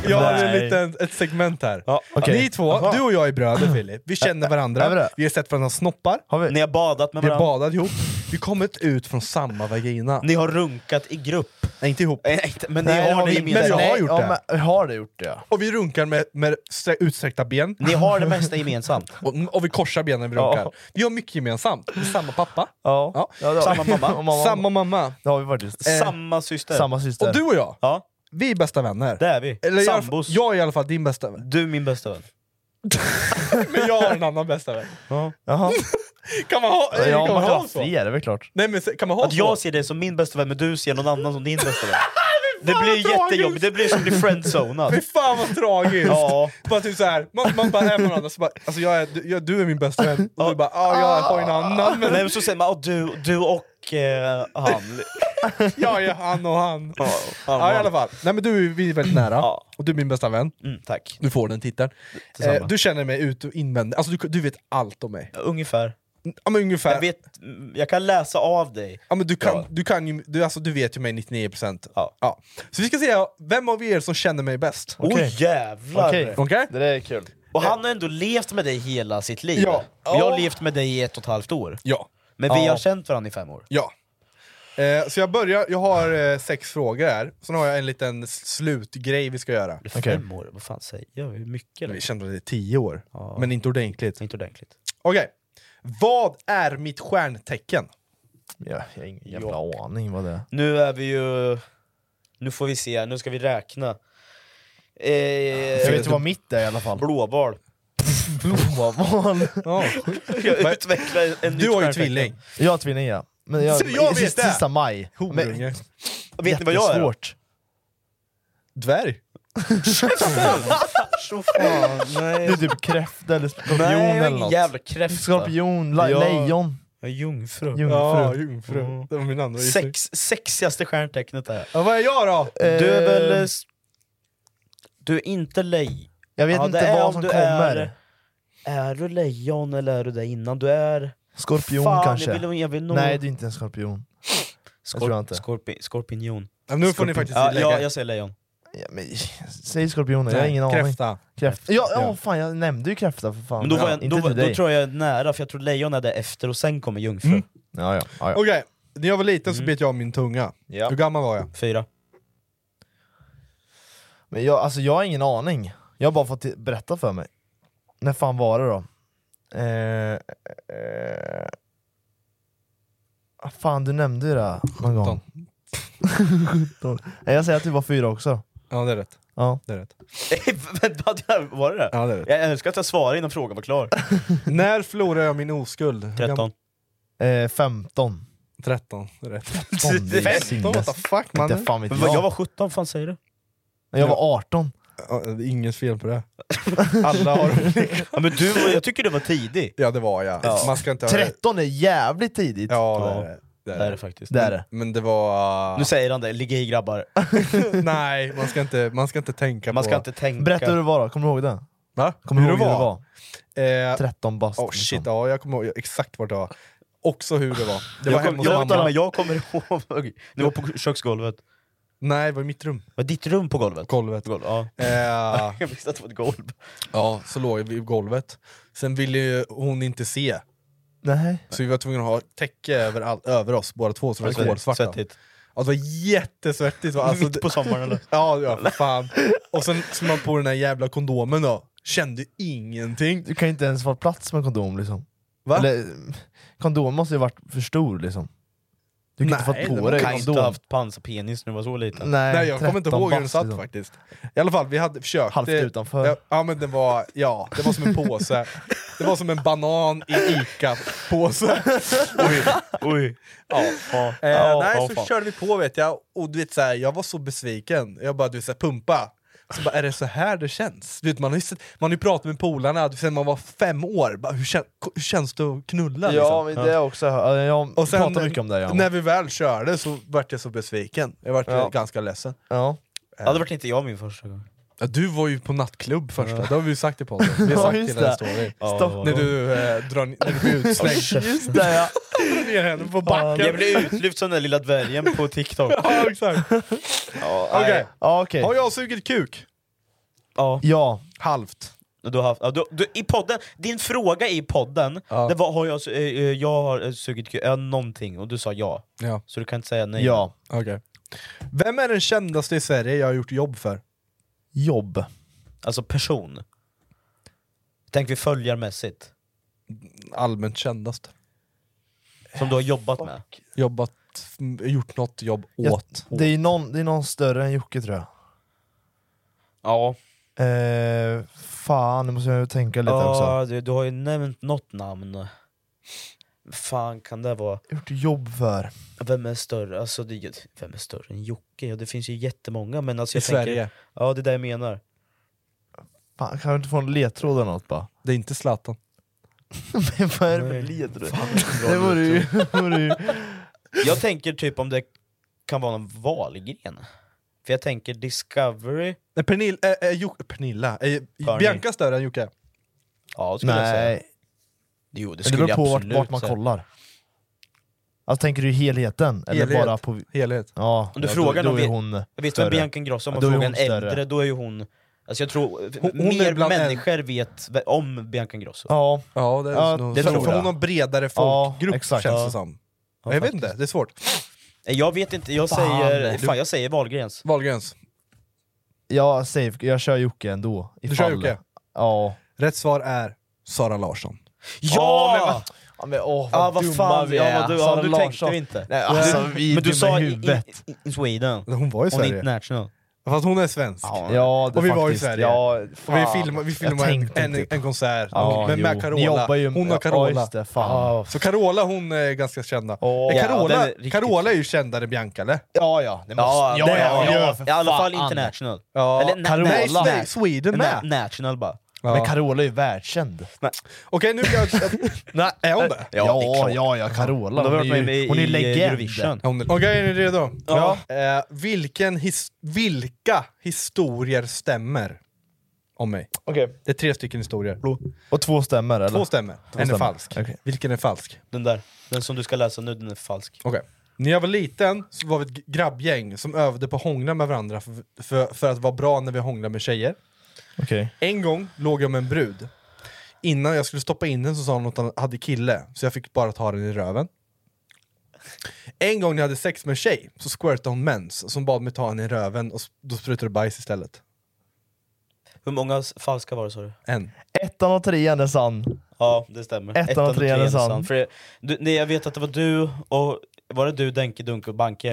Jag har en Nej. liten, ett segment här. okej. Ni två, Aha. du och jag är bröder Filip. Vi känner Är vi varandra, det? vi har sett varandras snoppar, Har vi? Ni har badat med vi har varandra, badat ihop, vi har kommit ut från samma vagina. ni har runkat i grupp. Nej, inte ihop. (laughs) Nej, inte- Men ni Nej, har vi det inte. Men jag gemensamt. har Nej, gjort ja, det. men jag har det gjort det ja. Och vi runkar med, med strä- utsträckta ben, Ni har det mesta gemensamt. och, mm, och vi korsar benen när vi runkar. Ja. Vi har mycket gemensamt. Vi är Samma pappa, Ja. Ja. det har Samma vi. (laughs) mamma. Och mamma. samma mamma. Det har vi faktiskt. Eh. Samma syster. Samma syster. Och du och jag, Ja, vi är bästa vänner. det är vi. Eller i alla fall, Sambos. jag är i alla fall din bästa vän. Du är min bästa vän. Men jag har en annan bästa vän. Jaha. (laughs) Kan man ha, Ja, kan man man kan ha ha så? fler, det är väl klart. Nej men se- kan man ha Att jag så? (laughs) ser dig som min bästa vän men du ser någon annan som din bästa vän. Det fan, blir vad tragiskt! jättejobbigt, det blir som att bli friendzonad. Fy fan vad tragiskt! Ja. (laughs) Bara typ såhär, man, man bara är med varandra så bara, alltså jag är, du, jag, du är min bästa vän, och du bara ah, jag har ju en annan men... Nej, men så säger man "Ah, du, du och eh, han. Jag är han och han. Ja, han och Ja i han. alla fall, Nej, men du, vi är väldigt nära, och du är min bästa vän. tack. Du får den titeln. Mm. Detsamma. Eh, du känner mig ut och invändigt, alltså du, du vet allt om mig. Ungefär. Ja, men ungefär. Jag, vet, jag kan läsa av dig. Ja, men du, kan, du, kan ju, du, alltså, du vet ju mig 99% ja. Så vi ska se vem av er som känner mig bäst. Oj, jävlar! Okej. Det där är kul. Och han har ändå levt med dig hela sitt liv. Ja. Men jag har Ja. levt med dig i ett och ett halvt år. Ja. Men vi Ja. har känt varandra i fem år. Ja. Eh, så jag börjar, jag har eh, sex frågor här, sen har jag en liten s- slutgrej vi ska göra. Fem år, vad fan säger jag? Hur mycket? Vi kände det i tio år, men inte ordentligt. Inte ordentligt. Okej. Vad är mitt stjärntecken? Ja, jag har ingen jävla aning vad det är. Nu är vi ju... Nu får vi se, nu ska vi räkna. Eh, Jag vet ju vad mitt är i (laughs) alla fall. (laughs) Blåval. Blåval? jag utvecklar en- Du en har nytt ju stjärntecken. tvilling. Jag har tvilling ja. Men jag, Så jag vet sista, det! sista maj. Horunge. Vet ni vad jag är då? Jättesvårt. Dvärg? Det är (laughs) typ kräfta eller skorpion Nej, jag är eller ingen något. jävla kräfta. Skorpion, la- Jag- lejon. Jag är jungfru. Jungfru. Ja, jungfru. Det var min andra gissning. Sex, sexigaste stjärntecknet Eh, är Ja, vad är jag då? Du är väl... eh, Eh, s- Du är inte lej... Jag vet det inte är vad om som du kommer. Är, är du lejon eller är du det innan? Du är... Skorpion Fan, kanske? Jag vill, jag vill nog... Nej du är inte en skorpion. Skor- jag tror jag inte. Skorpi- skorpion. Ja, men nu får ni faktiskt ja, lägga- ja, jag säger lejon. Ja, men, säg skorpioner, jag har Nej, ingen aning. kräfta. Kräfta. Ja, ja Ja. fan jag nämnde ju kräfta för fan. Men då, var ja, jag, inte då, var- till då dig. tror jag jag är nära, för jag tror lejon är det efter och sen kommer jungfru. Ja, ja, ja, ja. Okej, när jag var liten så bet jag av min tunga. Hur gammal var jag? (laughs) Fyra. Men jag, alltså, jag har ingen aning. Jag har bara fått till- berätta för mig. När fan var det då? Eh, eh, ah, fan du nämnde ju det här någon gång. 17. (laughs) Nej, jag säger att du var fyra också. Ja det är rätt. Ja. Det är rätt. var det det? Ja, det är rätt. Jag önskar att jag svarade innan frågan var klar. När förlorade jag min oskuld? Hur (laughs) Tretton. Eh, 15. 13, det är rätt. 15, det är 15, what the sinnes. fuck mannen? Inte fan vet Men jag var 17, fan säger du? Jag var 18. Ja, det är Inget fel på det. Alla har ja, men du, var- Jag tycker du var tidig. Ja det var jag. Man ska inte ha- 13 är jävligt tidigt. Ja, det är det. Det är det faktiskt. Det är det. Men det var... Nu säger han det, ligg i grabbar. Nej, man ska inte, man ska inte tänka Man på... ska inte tänka. Berätta hur det var då, kommer du ihåg det? Va? Kommer du ihåg hur det var? Eh, 13 bast. liksom. Oh shit, ja, jag kommer ihåg exakt vart det var. Också hur det var. Det var jag, hemma kom, hos jag, mamma. men jag kommer ihåg, (laughs) det var på köksgolvet. Nej, det var i mitt rum. Var ditt rum på golvet? Golvet. Golv, ja. Eh. (laughs) jag visste att det var ett golv. Ja, så låg vi i golvet. Sen ville ju hon inte se. Nej. Så vi var tvungna att ha ett täcke över, all, över oss båda två, så det Okej. var kolsvarta. Svettigt. Ja, det var jättesvettigt. va? Alltså, Mitt på sommaren, eller? Ja, ja för fan. Och sen så man på den här jävla kondomen då, kände ingenting. Du kan ju inte ens vara plats med kondom liksom. Va? Eller, kondom måste ju varit för stor liksom. Du kan inte fått på dig kan inte ha kondom. haft pansarpenis när du var så liten. Nej, Nej, jag kommer inte 13 ihåg hur den bast, satt liksom. faktiskt. I alla fall, vi hade försökt. Halvt Det- utanför. Ja, Ja men det var, ja, det var som en påse. Det var som en banan i ICA-påse. Oj. Oj. Ja. Eh, Ja, nej, ja, så fan. körde vi på vet jag, och du vet så här, jag var så besviken. Jag bara, du vet, så här, pumpa. Så bara, är det så här det känns? Du vet, man, har ju, sett- man har ju pratat med polarna du vet, sen man var fem år, bara, hur, kän, hur känns det att knulla? Ja, liksom? men det är också, jag Och sen, pratar mycket om det. Ja. När vi väl körde så vart jag så besviken, jag vart Ja. ju ganska ledsen. Ja. Ja, det var inte jag min första gång. Ja, du var ju på nattklubb första, det har vi ju sagt i podden. (laughs) Vi Ja, har sagt just hela den det. storyn. Ja, Stopp. när, du, eh, drar, när du blir utslängd. Just det ja. Dra ner henne på Fan, backen. Jag blev utlyft som den där lilla dvärgen på TikTok. ja, exakt. Ja, Okej. nej. Har jag sugit kuk? Ja. ja. Halvt. Du har haft, ja, du, du, i podden, din fråga i podden, det var har jag, su- eh, eh, jag har eh, sugit kuk, eh, någonting, och du sa ja. Ja. Så du kan inte säga nej. Ja. Okej. Vem är den kändaste i Sverige jag har gjort jobb för? Jobb. Alltså person. Tänk vi följarmässigt, Allmänt kändast. som du har jobbat med. Jobbat, m- gjort något jobb Jag- åt. Det är någon, det är någon större än Jocke tror jag. Ja. Eh, fan, nu måste jag tänka lite också. Ja, du, du har ju nämnt något namn. fan kan det vara? Gjort jobb för. Vem är större? Alltså, det, vem är större än Jocke? Ja, det finns ju jättemånga men alltså, I jag tänker, Sverige. Ja det är det jag menar. Fan, kan vi inte få en ledtråd eller något bara? (laughs) Det är inte Zlatan. Men vad är det för ledtråd? (laughs) Det vore ju... vore ju- Jag tänker typ om det kan vara någon valgren. För jag tänker Discovery, Nej, Pernil, äh, äh, Juk- Pernilla, eh, Pernil. Bianca större än Jocke? ja skulle jag säga. Nej. Jo det Det skulle beror jag på vart, absolut vart man säga. kollar. Alltså tänker du helheten? Eller Helhet. bara på... Helhet. Ja, Om du ja, frågar då, någon, då är vet- hon jag vet större. vem Bianca Ingrosso, om man Ja, då är frågar hon en större. äldre då är ju hon, alltså jag tror, Hon- hon är mer bland äldre. människor vet vä- om Bianca Ingrosso. Ja, ja det, är Ja, nog- det för, tror för jag. hon har bredare Ja, folkgrupp exakt. känns Ja. det som. Ja, jag vet faktiskt. inte, det är svårt. Nej, Eh, Jag vet inte, jag Fan, säger, du- fan jag säger Wahlgrens. Wahlgrens. Ja, safe. Jag kör Jocke ändå. Du ifall- kör Jocke? Ja. Rätt svar är Sara Larsson. Ja! men vad- Ja, men åh, vad, Ja, vad dumma fan, vi ja, är. vad du- ja, Sara du tänkte Larsson. vi inte. Nej, alltså, Du- vi är men du dumma sa i- i i- huvudet. In Sweden. Hon var i Hon är Sverige. international. Fast hon är svensk. Ja, det och vi var i faktiskt. Sverige. Ja, och vi fan. filmade, vi Jag filmade en, tänkte en, inte. en konsert Ja, men med jo. Ni Carola. jobbar ju- Hon ja, och Carola. just det, fan. Så Carola hon är ganska kända. Åh, Eh, ja, den Carola, är riktigt- Carola är ju kändare än Bianca eller? Ja, ja. Det måste, Ja, ja, det- ja, ja, ja, ja, för för i alla fall fan. international. Ja, Eller na- Nej, Carola. Sverige- Sweden Na- med! National bara. Ja. Men Carola är ju världskänd. Okej nu ska jag... (laughs) Nej, är hon det? Ja, ja, ja, Carola. Hon, Hon har varit är med i- ju hon är i legend. Eurovision. Hon är- Okej, är ni redo? Ja. Eh, vilken his- vilka historier stämmer om mig? Okej. Det är tre stycken historier. Och två stämmer eller? Två stämmer. en är stämmer. falsk. Okej. Vilken är falsk? Den där, den som du ska läsa nu, den är falsk. Okej. När jag var liten så var vi ett grabbgäng som övade på att hångla med varandra för, för, för att vara bra när vi hånglade med tjejer. Okej. En gång låg jag med en brud. Innan jag skulle stoppa in den så sa hon att han hade kille, så jag fick bara ta den i röven. En gång när jag hade sex med en tjej så squirtade hon mens som bad mig ta henne i röven och s- då sprutade det bajs istället. Hur många s- falska var det sa du? En. Ettan och trean är sann. Ja, det stämmer. Ettan och trean är sann. För jag, du, nej, jag vet att det var du och... Var det du, Denke, Dunke och Banke?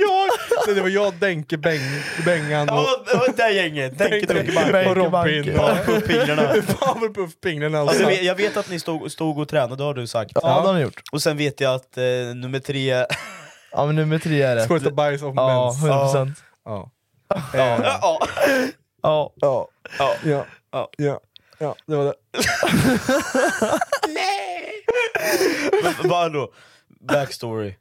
Jag, nej, det var jag, Denke, Beng, Bengan och, (laughs) (laughs) Ja, det var det där gänget! Denke, Dunke, Banke. och Robin. Benke. Ja. (laughs) Puffpinglorna. Fan vad puffpinglarna Alltså, alltså. jag vet- jag vet att ni stod, stod och tränade, det har du sagt. Ja, det har ni gjort. Och sen vet jag att eh, nummer tre... Ja, men nummer tre är rätt. Squirta bajs och Ja, mens. 100%. Ja. (laughs) Ja, Ja. Ja. Ja. Ja. Ja. Ja. Ja, det var det. men vadå? Backstory.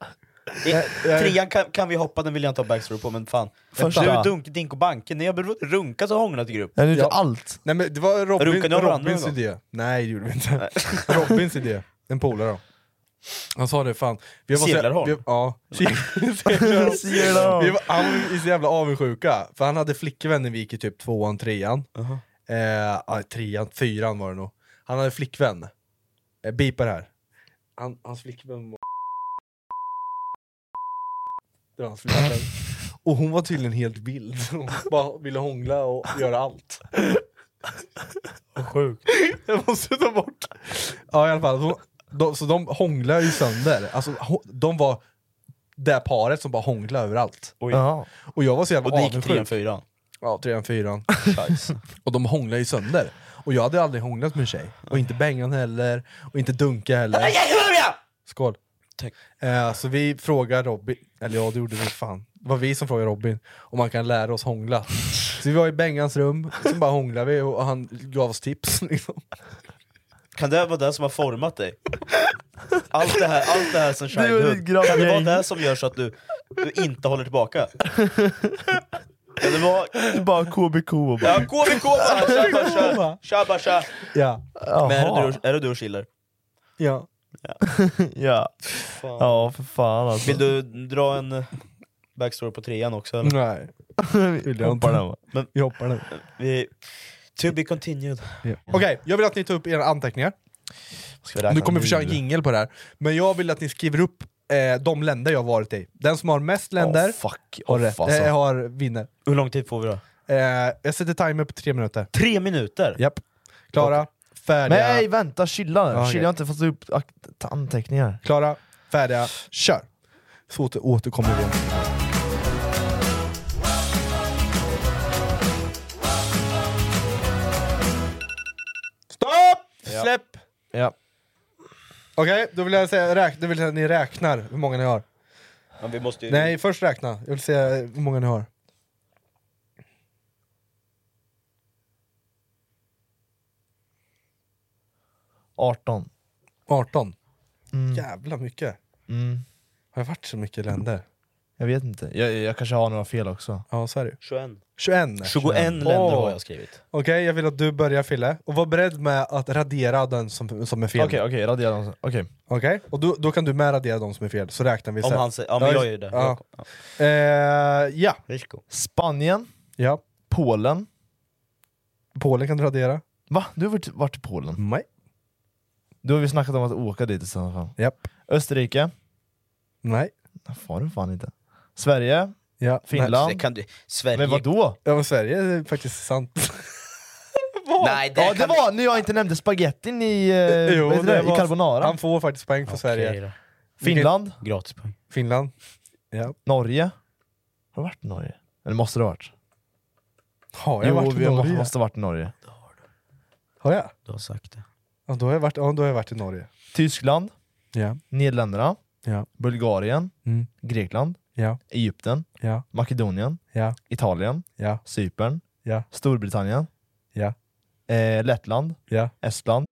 I, trean kan, kan vi hoppa, den vill jag inte ha backstory på, men fan. Första. Du, Dunk, Dink och Banke, ni har börjat runka så hånglat i grupp. Är det inte Ja. allt? Nej men det var Robin, Runkade ni av varandra Robins någon gång? idé. Nej det gjorde vi inte. (laughs) Robins idé. En polare då. Han sa det fan. Vi var så- Sedlarholm? vi- Ja. (laughs) Sedlarholm. Sedlarholm. Vi var- Han var så jävla avundsjuka. För han hade flickvän när vi gick i typ tvåan, trean. Eh, ja, trean, fyran var det nog. Han hade flickvän. Eh, Beepa det här. Han, hans flickvän var... Det var hans flickvän. Och hon var tydligen helt vild. Hon bara ville hångla och göra allt. Sjukt. Jag måste ta bort. Ja i alla fall, de, de, så de hånglade ju sönder. Alltså, ho- de var det paret som bara hånglade överallt. Oj. Ja. Och jag var så jävla Och det gick avundsjuk. trean, fyran. Ja, trean, fyran. och de hånglade ju sönder. Och jag hade aldrig hånglat med en tjej. Och inte bängan heller, och inte dunka heller. Skål! Tack. Eh, så vi frågade Robin, eller ja det gjorde vi fan. Det var vi som frågade Robin om man kan lära oss hångla. Så vi var i Bengans rum, så bara hånglade vi och han gav oss tips. (laughs) Liksom. Kan det vara det som har format dig? Allt det här, allt det här som var ditt childhood, grabbgäng. kan det vara det som gör så att du, du inte håller tillbaka? Kan det vara... Bara KBK och bara... Ja, KVK bara! Tja bara tja! Tja bara tja! Ja. Men är det Jaha. du, är det du och Schiller? Ja. Ja. Ja, för fan alltså. Vill du dra en backstory på trean också eller? Nej. Vill jag Hoppar den, inte. va? Vi hoppar nu. Vi, to be continued. Okej, jag vill att ni tar upp era anteckningar. Ska vi räkna Nu kommer vi köra en nu? jingel på det här. Men jag vill att ni skriver upp eh, de länder jag har varit i. Den som har mest Åh, länder fuck har, off, rätt, alltså. eh, har vinner. Hur lång tid får vi då? Eh, jag sätter timer på tre minuter. Tre minuter? Japp. Klara, färdiga. Nej, vänta, chilla Ja, nu. okej. Chilla, jag har inte fått upp ak- anteckningar. Klara, färdiga, kör! Så åter, återkommer vi. Stopp! Släpp! Ja. Okej, då vill jag säga, räk, då vill jag säga att ni räknar hur många ni Mm. har. Men vi måste ju... Nej, först räkna. Jag vill se hur många ni har. Arton. 18. Jävla mycket. Mm. Har jag varit så mycket länder? Jag vet inte. Jag, jag kanske har några fel också. Ja, så är det 21. 21. 21 länder har jag skrivit. Okej, jag vill att du börjar Fille. Och var beredd med att radera den som, som är fel. Okej, okej. radera dem. Okej. Okej, och då, då kan du med radera de som är fel, så räknar vi Om sen. han säger- ja, men jag just- gör det. Ja. Eh, ja. Spanien. Ja. Polen. Polen kan du radera. Va? Du har varit, varit i Polen? Nej. Då har vi snackat om att åka dit i sådana fall. Japp. Österrike? Nej. Det får du fan inte. Sverige? Ja. Finland? Nej, det kan du- Sverige- Men vadå? Ja, men Sverige är faktiskt sant. Nej, det, ja, det var när jag inte nämnde spagettin i, eh, Jo, vad heter det, det var- i carbonara. han får faktiskt poäng för Sverige. då. Finland? Gratispoäng. Finland. Ja. Norge? Har det varit Norge? Eller måste det ha varit? Har jag varit i vi må- Norge? måste ha varit i Norge. Har jag? Du har sagt det. Ja, då har jag varit, ja, då har jag varit i Norge. Tyskland? Ja. Nederländerna? Ja. Bulgarien? Mm. Grekland? Ja. Egypten? Ja. Makedonien? Ja. Italien? Ja. Cypern? Ja. Storbritannien? Ja. Eh, Lettland? Ja. Estland?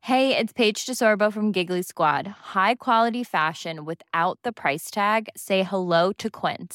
Hey, it's Paige DeSorbo from Giggly Squad. High quality fashion without the price tag. Say hello to Quince.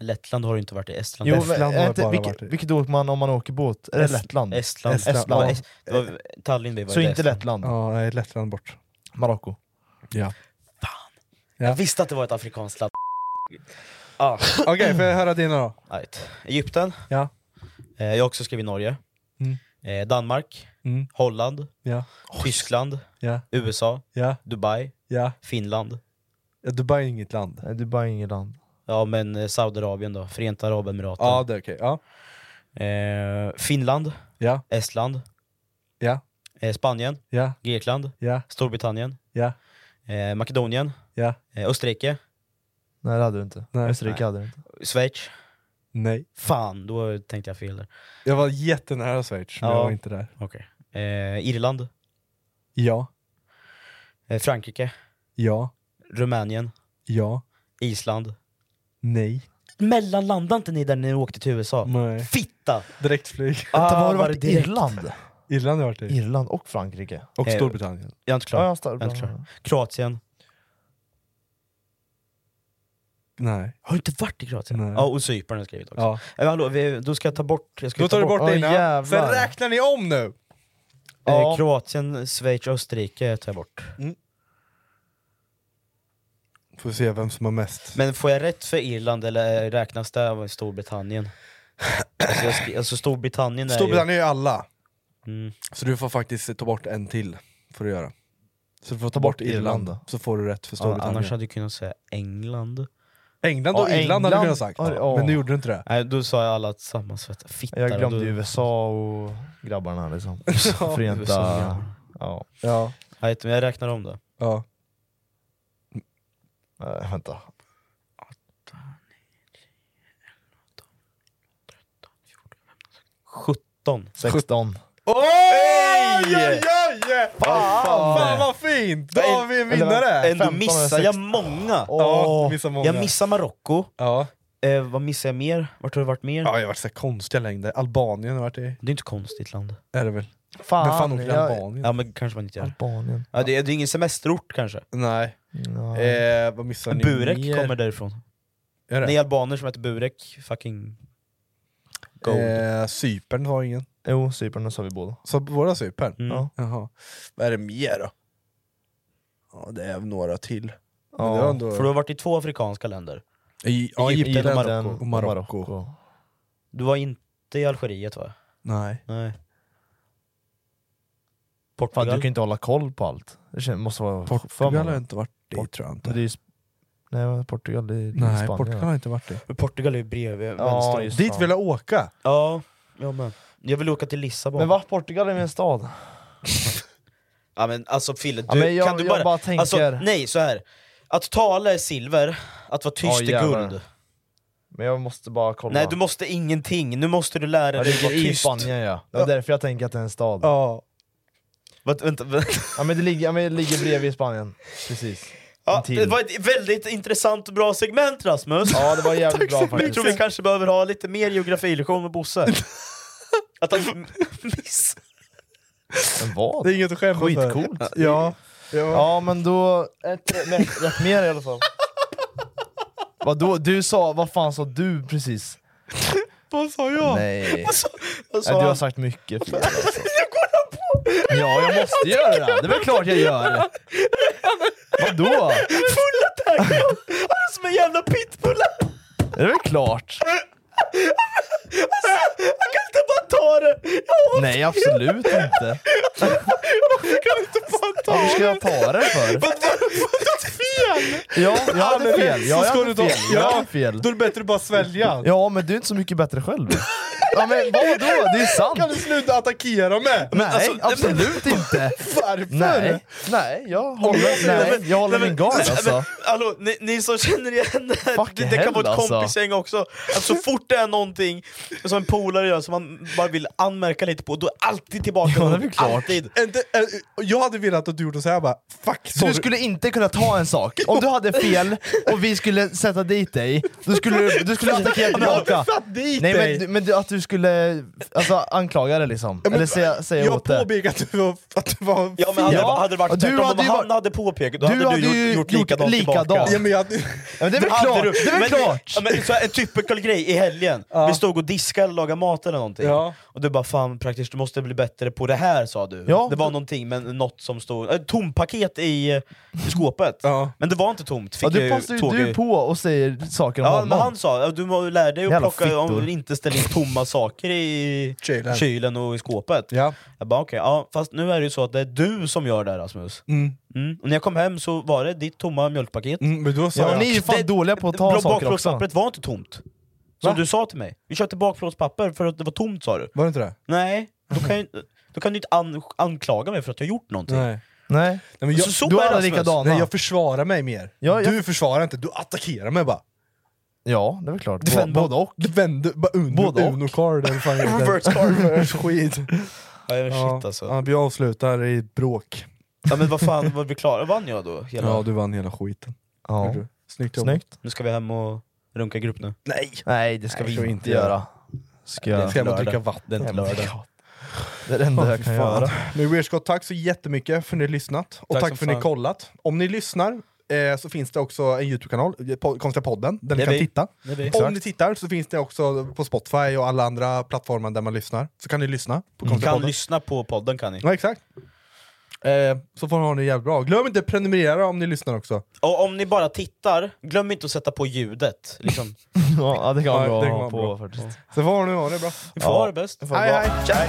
Lettland har du inte varit i, Estland Jo, Estland men, har är jag inte, bara vilket, varit i. vilket åker man om man åker båt? Är det Est- Lettland? Estland. Estland. Estland. Ja. Es- det var Tallinn vi var Så i, inte Estland. Lettland? Ja, nej, Lettland bort. Marocko? Ja. Jag visste att det var ett afrikanskt land. Ah. (laughs) Okej, får jag höra dina då? Right. Egypten. Ja. Eh, jag har också skrivit Norge. Mm. Eh, Danmark. Mm. Holland. Ja. Tyskland. Ja. USA. Ja. Dubai. Ja. Finland. Dubai är inget land. Dubai är inget land. Ja men eh, Saudiarabien då, Förenta Arabemiraten. Ja, det är okej. Ja. Eh, Finland. Ja. Estland. Ja. Eh, Spanien. Ja. Grekland. Ja. Storbritannien. Ja. Eh, Makedonien. Ja. Eh, Österrike. Nej det hade du inte. Nej. Österrike Nej. hade du inte. Schweiz. Nej. Fan, då tänkte jag fel där. Jag var jättenära Schweiz, men jag var inte där. Okej. Eh, Irland. Ja. Eh, Frankrike. Ja. Rumänien. Ja. Island. Nej. Mellanlandade inte ni där ni åkte till USA? Nej. Fitta! Ah, Direktflyg. Vänta, vad har du varit i Irland? (laughs) Irland har jag varit i. Ah, Irland och Frankrike. Och Eh, Storbritannien. Jag är inte klar. Ja, ja, jag är inte klar. Storbritannien. Kroatien. Nej. Har du inte varit i Kroatien? Nej. Ja, och Cypern har jag skrivit också. Ja. Men hallå, vi, då ska jag ta bort... Jag ska Då tar ta du bort Åh, dina, sen jävlar. räknar ni om nu! Eh, Kroatien, Schweiz, Österrike tar jag bort. Får se vem som har mest. Men får jag rätt för Irland eller räknas det av Storbritannien? Alltså, jag skri- alltså Storbritannien är Storbritannien är ju alla. Mm. Så du får faktiskt ta bort en till, får du göra. Så du får ta, bort bort Irland, Irland. så får du rätt för ju... Ja, annars Storbritannien. hade jag kunnat säga England. England och Ja, Irland hade du England. kunnat sagt, Ja, ja. men nu gjorde du inte det. Nej, då sa jag alla tillsammans. Vet du. Fitta, Jag glömde då- ju USA och grabbarna (laughs) liksom. Ja, USA och Förenta... grabbarna. Ja. Ja. Nej, men jag räknar om det. Ja. Äh, vänta. Sjutton. 16. Oj, oj, oj! Fan, fan. fan vad fint! Då har vi en vinnare! Ändå missar jag många. Ja, du missar många. Jag missar Marocko. Ja. Eh, vad missar jag mer? Vart har det varit mer? Ja, jag har varit så här konstiga längder. Albanien har jag varit i. Det är inte konstigt land. Är det väl? Fan, Men fan åker till jag- Albanien? Ja men kanske man inte gör. Albanien. Ja, det, är- det är ingen semesterort kanske. Nej. Eh, vad missar ni Burek mer? kommer därifrån. Är det? Ni albaner som heter Burek, fucking... Gold. Eh, Cypern har ingen. Jo, Cypern sa vi båda. Så båda Cypern? Mm. Ja. Jaha. Vad är det mer då? Ja, det är några till. Men det Ja, var ändå... För du har varit i två afrikanska länder. I, ja, Egypten Egypten och och Marocko. Marocko. Du var inte inte i Algeriet va? Nej. Nej. Fan, du kan ju inte hålla koll på allt. Det känns- måste vara Portugal har jag inte varit i tror jag inte. Det är ju Sp- Nej, vad- Portugal det är det är Nej, Spanien. Portugal har jag inte varit i. Men Portugal är ju bredvid Ja, vänster. just Dit vill jag åka! Ja, jag men. Jag vill åka till Lissabon. Men va? Portugal är min stad. Ja men alltså Fille, du, Ja, men jag- kan du jag bara... bara tänker- Alltså, nej, så här. Att tala är silver, att vara tyst Ja, är jävlar. guld. Men jag måste bara kolla. Nej du måste ingenting, nu måste du lära Ja, dig det att vara ligger i tyst. Spanien ja. Det var därför jag tänker att det är en stad. Ja. ja men det ligger, ja, men det ligger bredvid Spanien. Precis. (laughs) Ja, det var ett väldigt intressant och bra segment Rasmus. Ja, det var jävligt Tack bra så faktiskt. Jag tror vi kanske behöver ha lite mer geografilektion med Bosse. (laughs) Att han miss... Men vad? Det är inget att skämmas för. Skitcoolt. Ja. Ja. ja men då, ett, ett, ett mer i alla fall. Vadå? Du sa, vad fan sa du (laughs) precis? Vad sa jag? Nej. Vad sa, vad sa Nej, du har han? sagt mycket (laughs) fel alltså. Ja, jag måste göra det! Det är väl klart jag gör! Vadå? Full attack! (laughs) Han är som en jävla pitbull! Det är väl klart! Alltså, jag kan inte bara ta det! Jag orkar Nej, absolut inte! (laughs) Jag kan inte bara ta det! Varför ska jag ta det för? fel! Ja, jag hade fel. Så Ja, jag ska hade du ta- fel. Jag Ja, hade fel. Då är det bättre att bara svälja. Ja, men du är inte så mycket bättre själv. Ja, men vadå? Det är sant. Kan du sluta attackera mig? Nej, absolut inte! Varför? Nej, nej, jag håller, nej, jag håller min gard alltså. Men, hallå, ni, ni som känner igen det här, det, det hell, kan vara ett alltså. kompisgäng också. Att så fort det är någonting som en polare gör som man bara vill anmärka lite på, då är alltid tillbaka. Ja, det är väl klart. Alltid. Inte, eh, jag hade velat att du gjorde såhär bara, fuck Du skulle inte kunna ta en sak. Om du hade fel och vi skulle sätta dit dig, då skulle du, du skulle attackera tillbaka. dit Nej dig. men, du- men du, att du skulle alltså, anklaga det liksom, Ja, men eller säga, säga åt Jag det. påpekade att du var, att du var Ja, men hade, Ja. hade det Och du varit tvärtom, om hade ju han varit- hade påpekat, då du hade, hade du ju gjort, gjort likadant, gjort likadant. tillbaka. Ja, men jag, Ja, men det är väl klart! Det är väl klart! Ja, men, så här, en typical grej i helgen, vi stod och diskade eller lagade mat eller någonting, Ja. och du bara 'Fan praktiskt, du måste bli bättre på det här' sa du. Ja. Det var någonting, men något som stod... Ett tomt paket i, eh, i skåpet, men det var inte tomt. Fick Ja, jag du ju passar ju tåg du i- på och säger saker om Ja, men honom. han sa "Ja, du må- lär dig att Jävla plocka om fittor." du inte ställer in tomma saker i Kylen. kylen, och i skåpet. Jag bara okej, ja, fast nu är det ju så att det är du som gör det här, Rasmus. Mm. Mm. Och när jag kom hem så var det ditt tomma mjölkpaket. men då sa Ja, jag... ni är ju fan dåliga på att ta Blå- saker också. Bakplåtspappret var inte tomt. Som Va? du sa till mig. Vi köpte bakplåtspapper för att det var tomt sa du. Var det inte det? Nej, då kan, ju- då kan du inte an, anklaga mig för att jag gjort någonting. Nej. Nej. Nej, men Så- så är Rasmus. alltså. Nej, jag försvarar mig mer. Ja, jag- Du försvarar inte, du attackerar mig bara. Ja, det är väl klart. Du vänder- Både och. Du vänder, bara uno, Både och. uno card eller fan heter. (laughs) Reverse card. Skit. Ja, jag- Ja, shit alltså. ja, vi avslutar i bråk. Ja, men vad fan, var vi klara? Vann jag då? Hela? Ja, du vann hela skiten. Ja. Gjorde du. Snyggt jobbat. Snyggt. Nu ska vi hem och runka i grupp nu. Nej! Nej, det ska Nej, vi jag inte inte göra. göra. Ska jag... Ska jag bara lördag. dricka vatten? Det är inte Jävla lördag. gott. Det är det enda jag kan göra. (laughs) Men Weird Scott, tack så jättemycket för att ni har lyssnat och Tack tack, som för att ni fan. kollat. Om ni lyssnar eh, så finns det också en YouTube-kanal, eh, po- Konstiga podden, där Det ni är kan vi. titta. Det är vi. Om ni tittar så finns det också på Spotify och alla andra plattformar där man lyssnar. Så kan ni lyssna på Du Konstiga kan podden. lyssna på podden kan ni. Ja, exakt. Eh, så får ni ha det jävligt bra. Glöm inte att prenumerera om ni lyssnar också. Och om ni bara tittar, glöm inte att sätta på ljudet. Liksom. Ja, det kan Ja, vara det bra kan att ha vara på bra. faktiskt. Så får ni ha det bra. Ni får Ja. ha det bäst. Ni får ha det Hej bra. hej!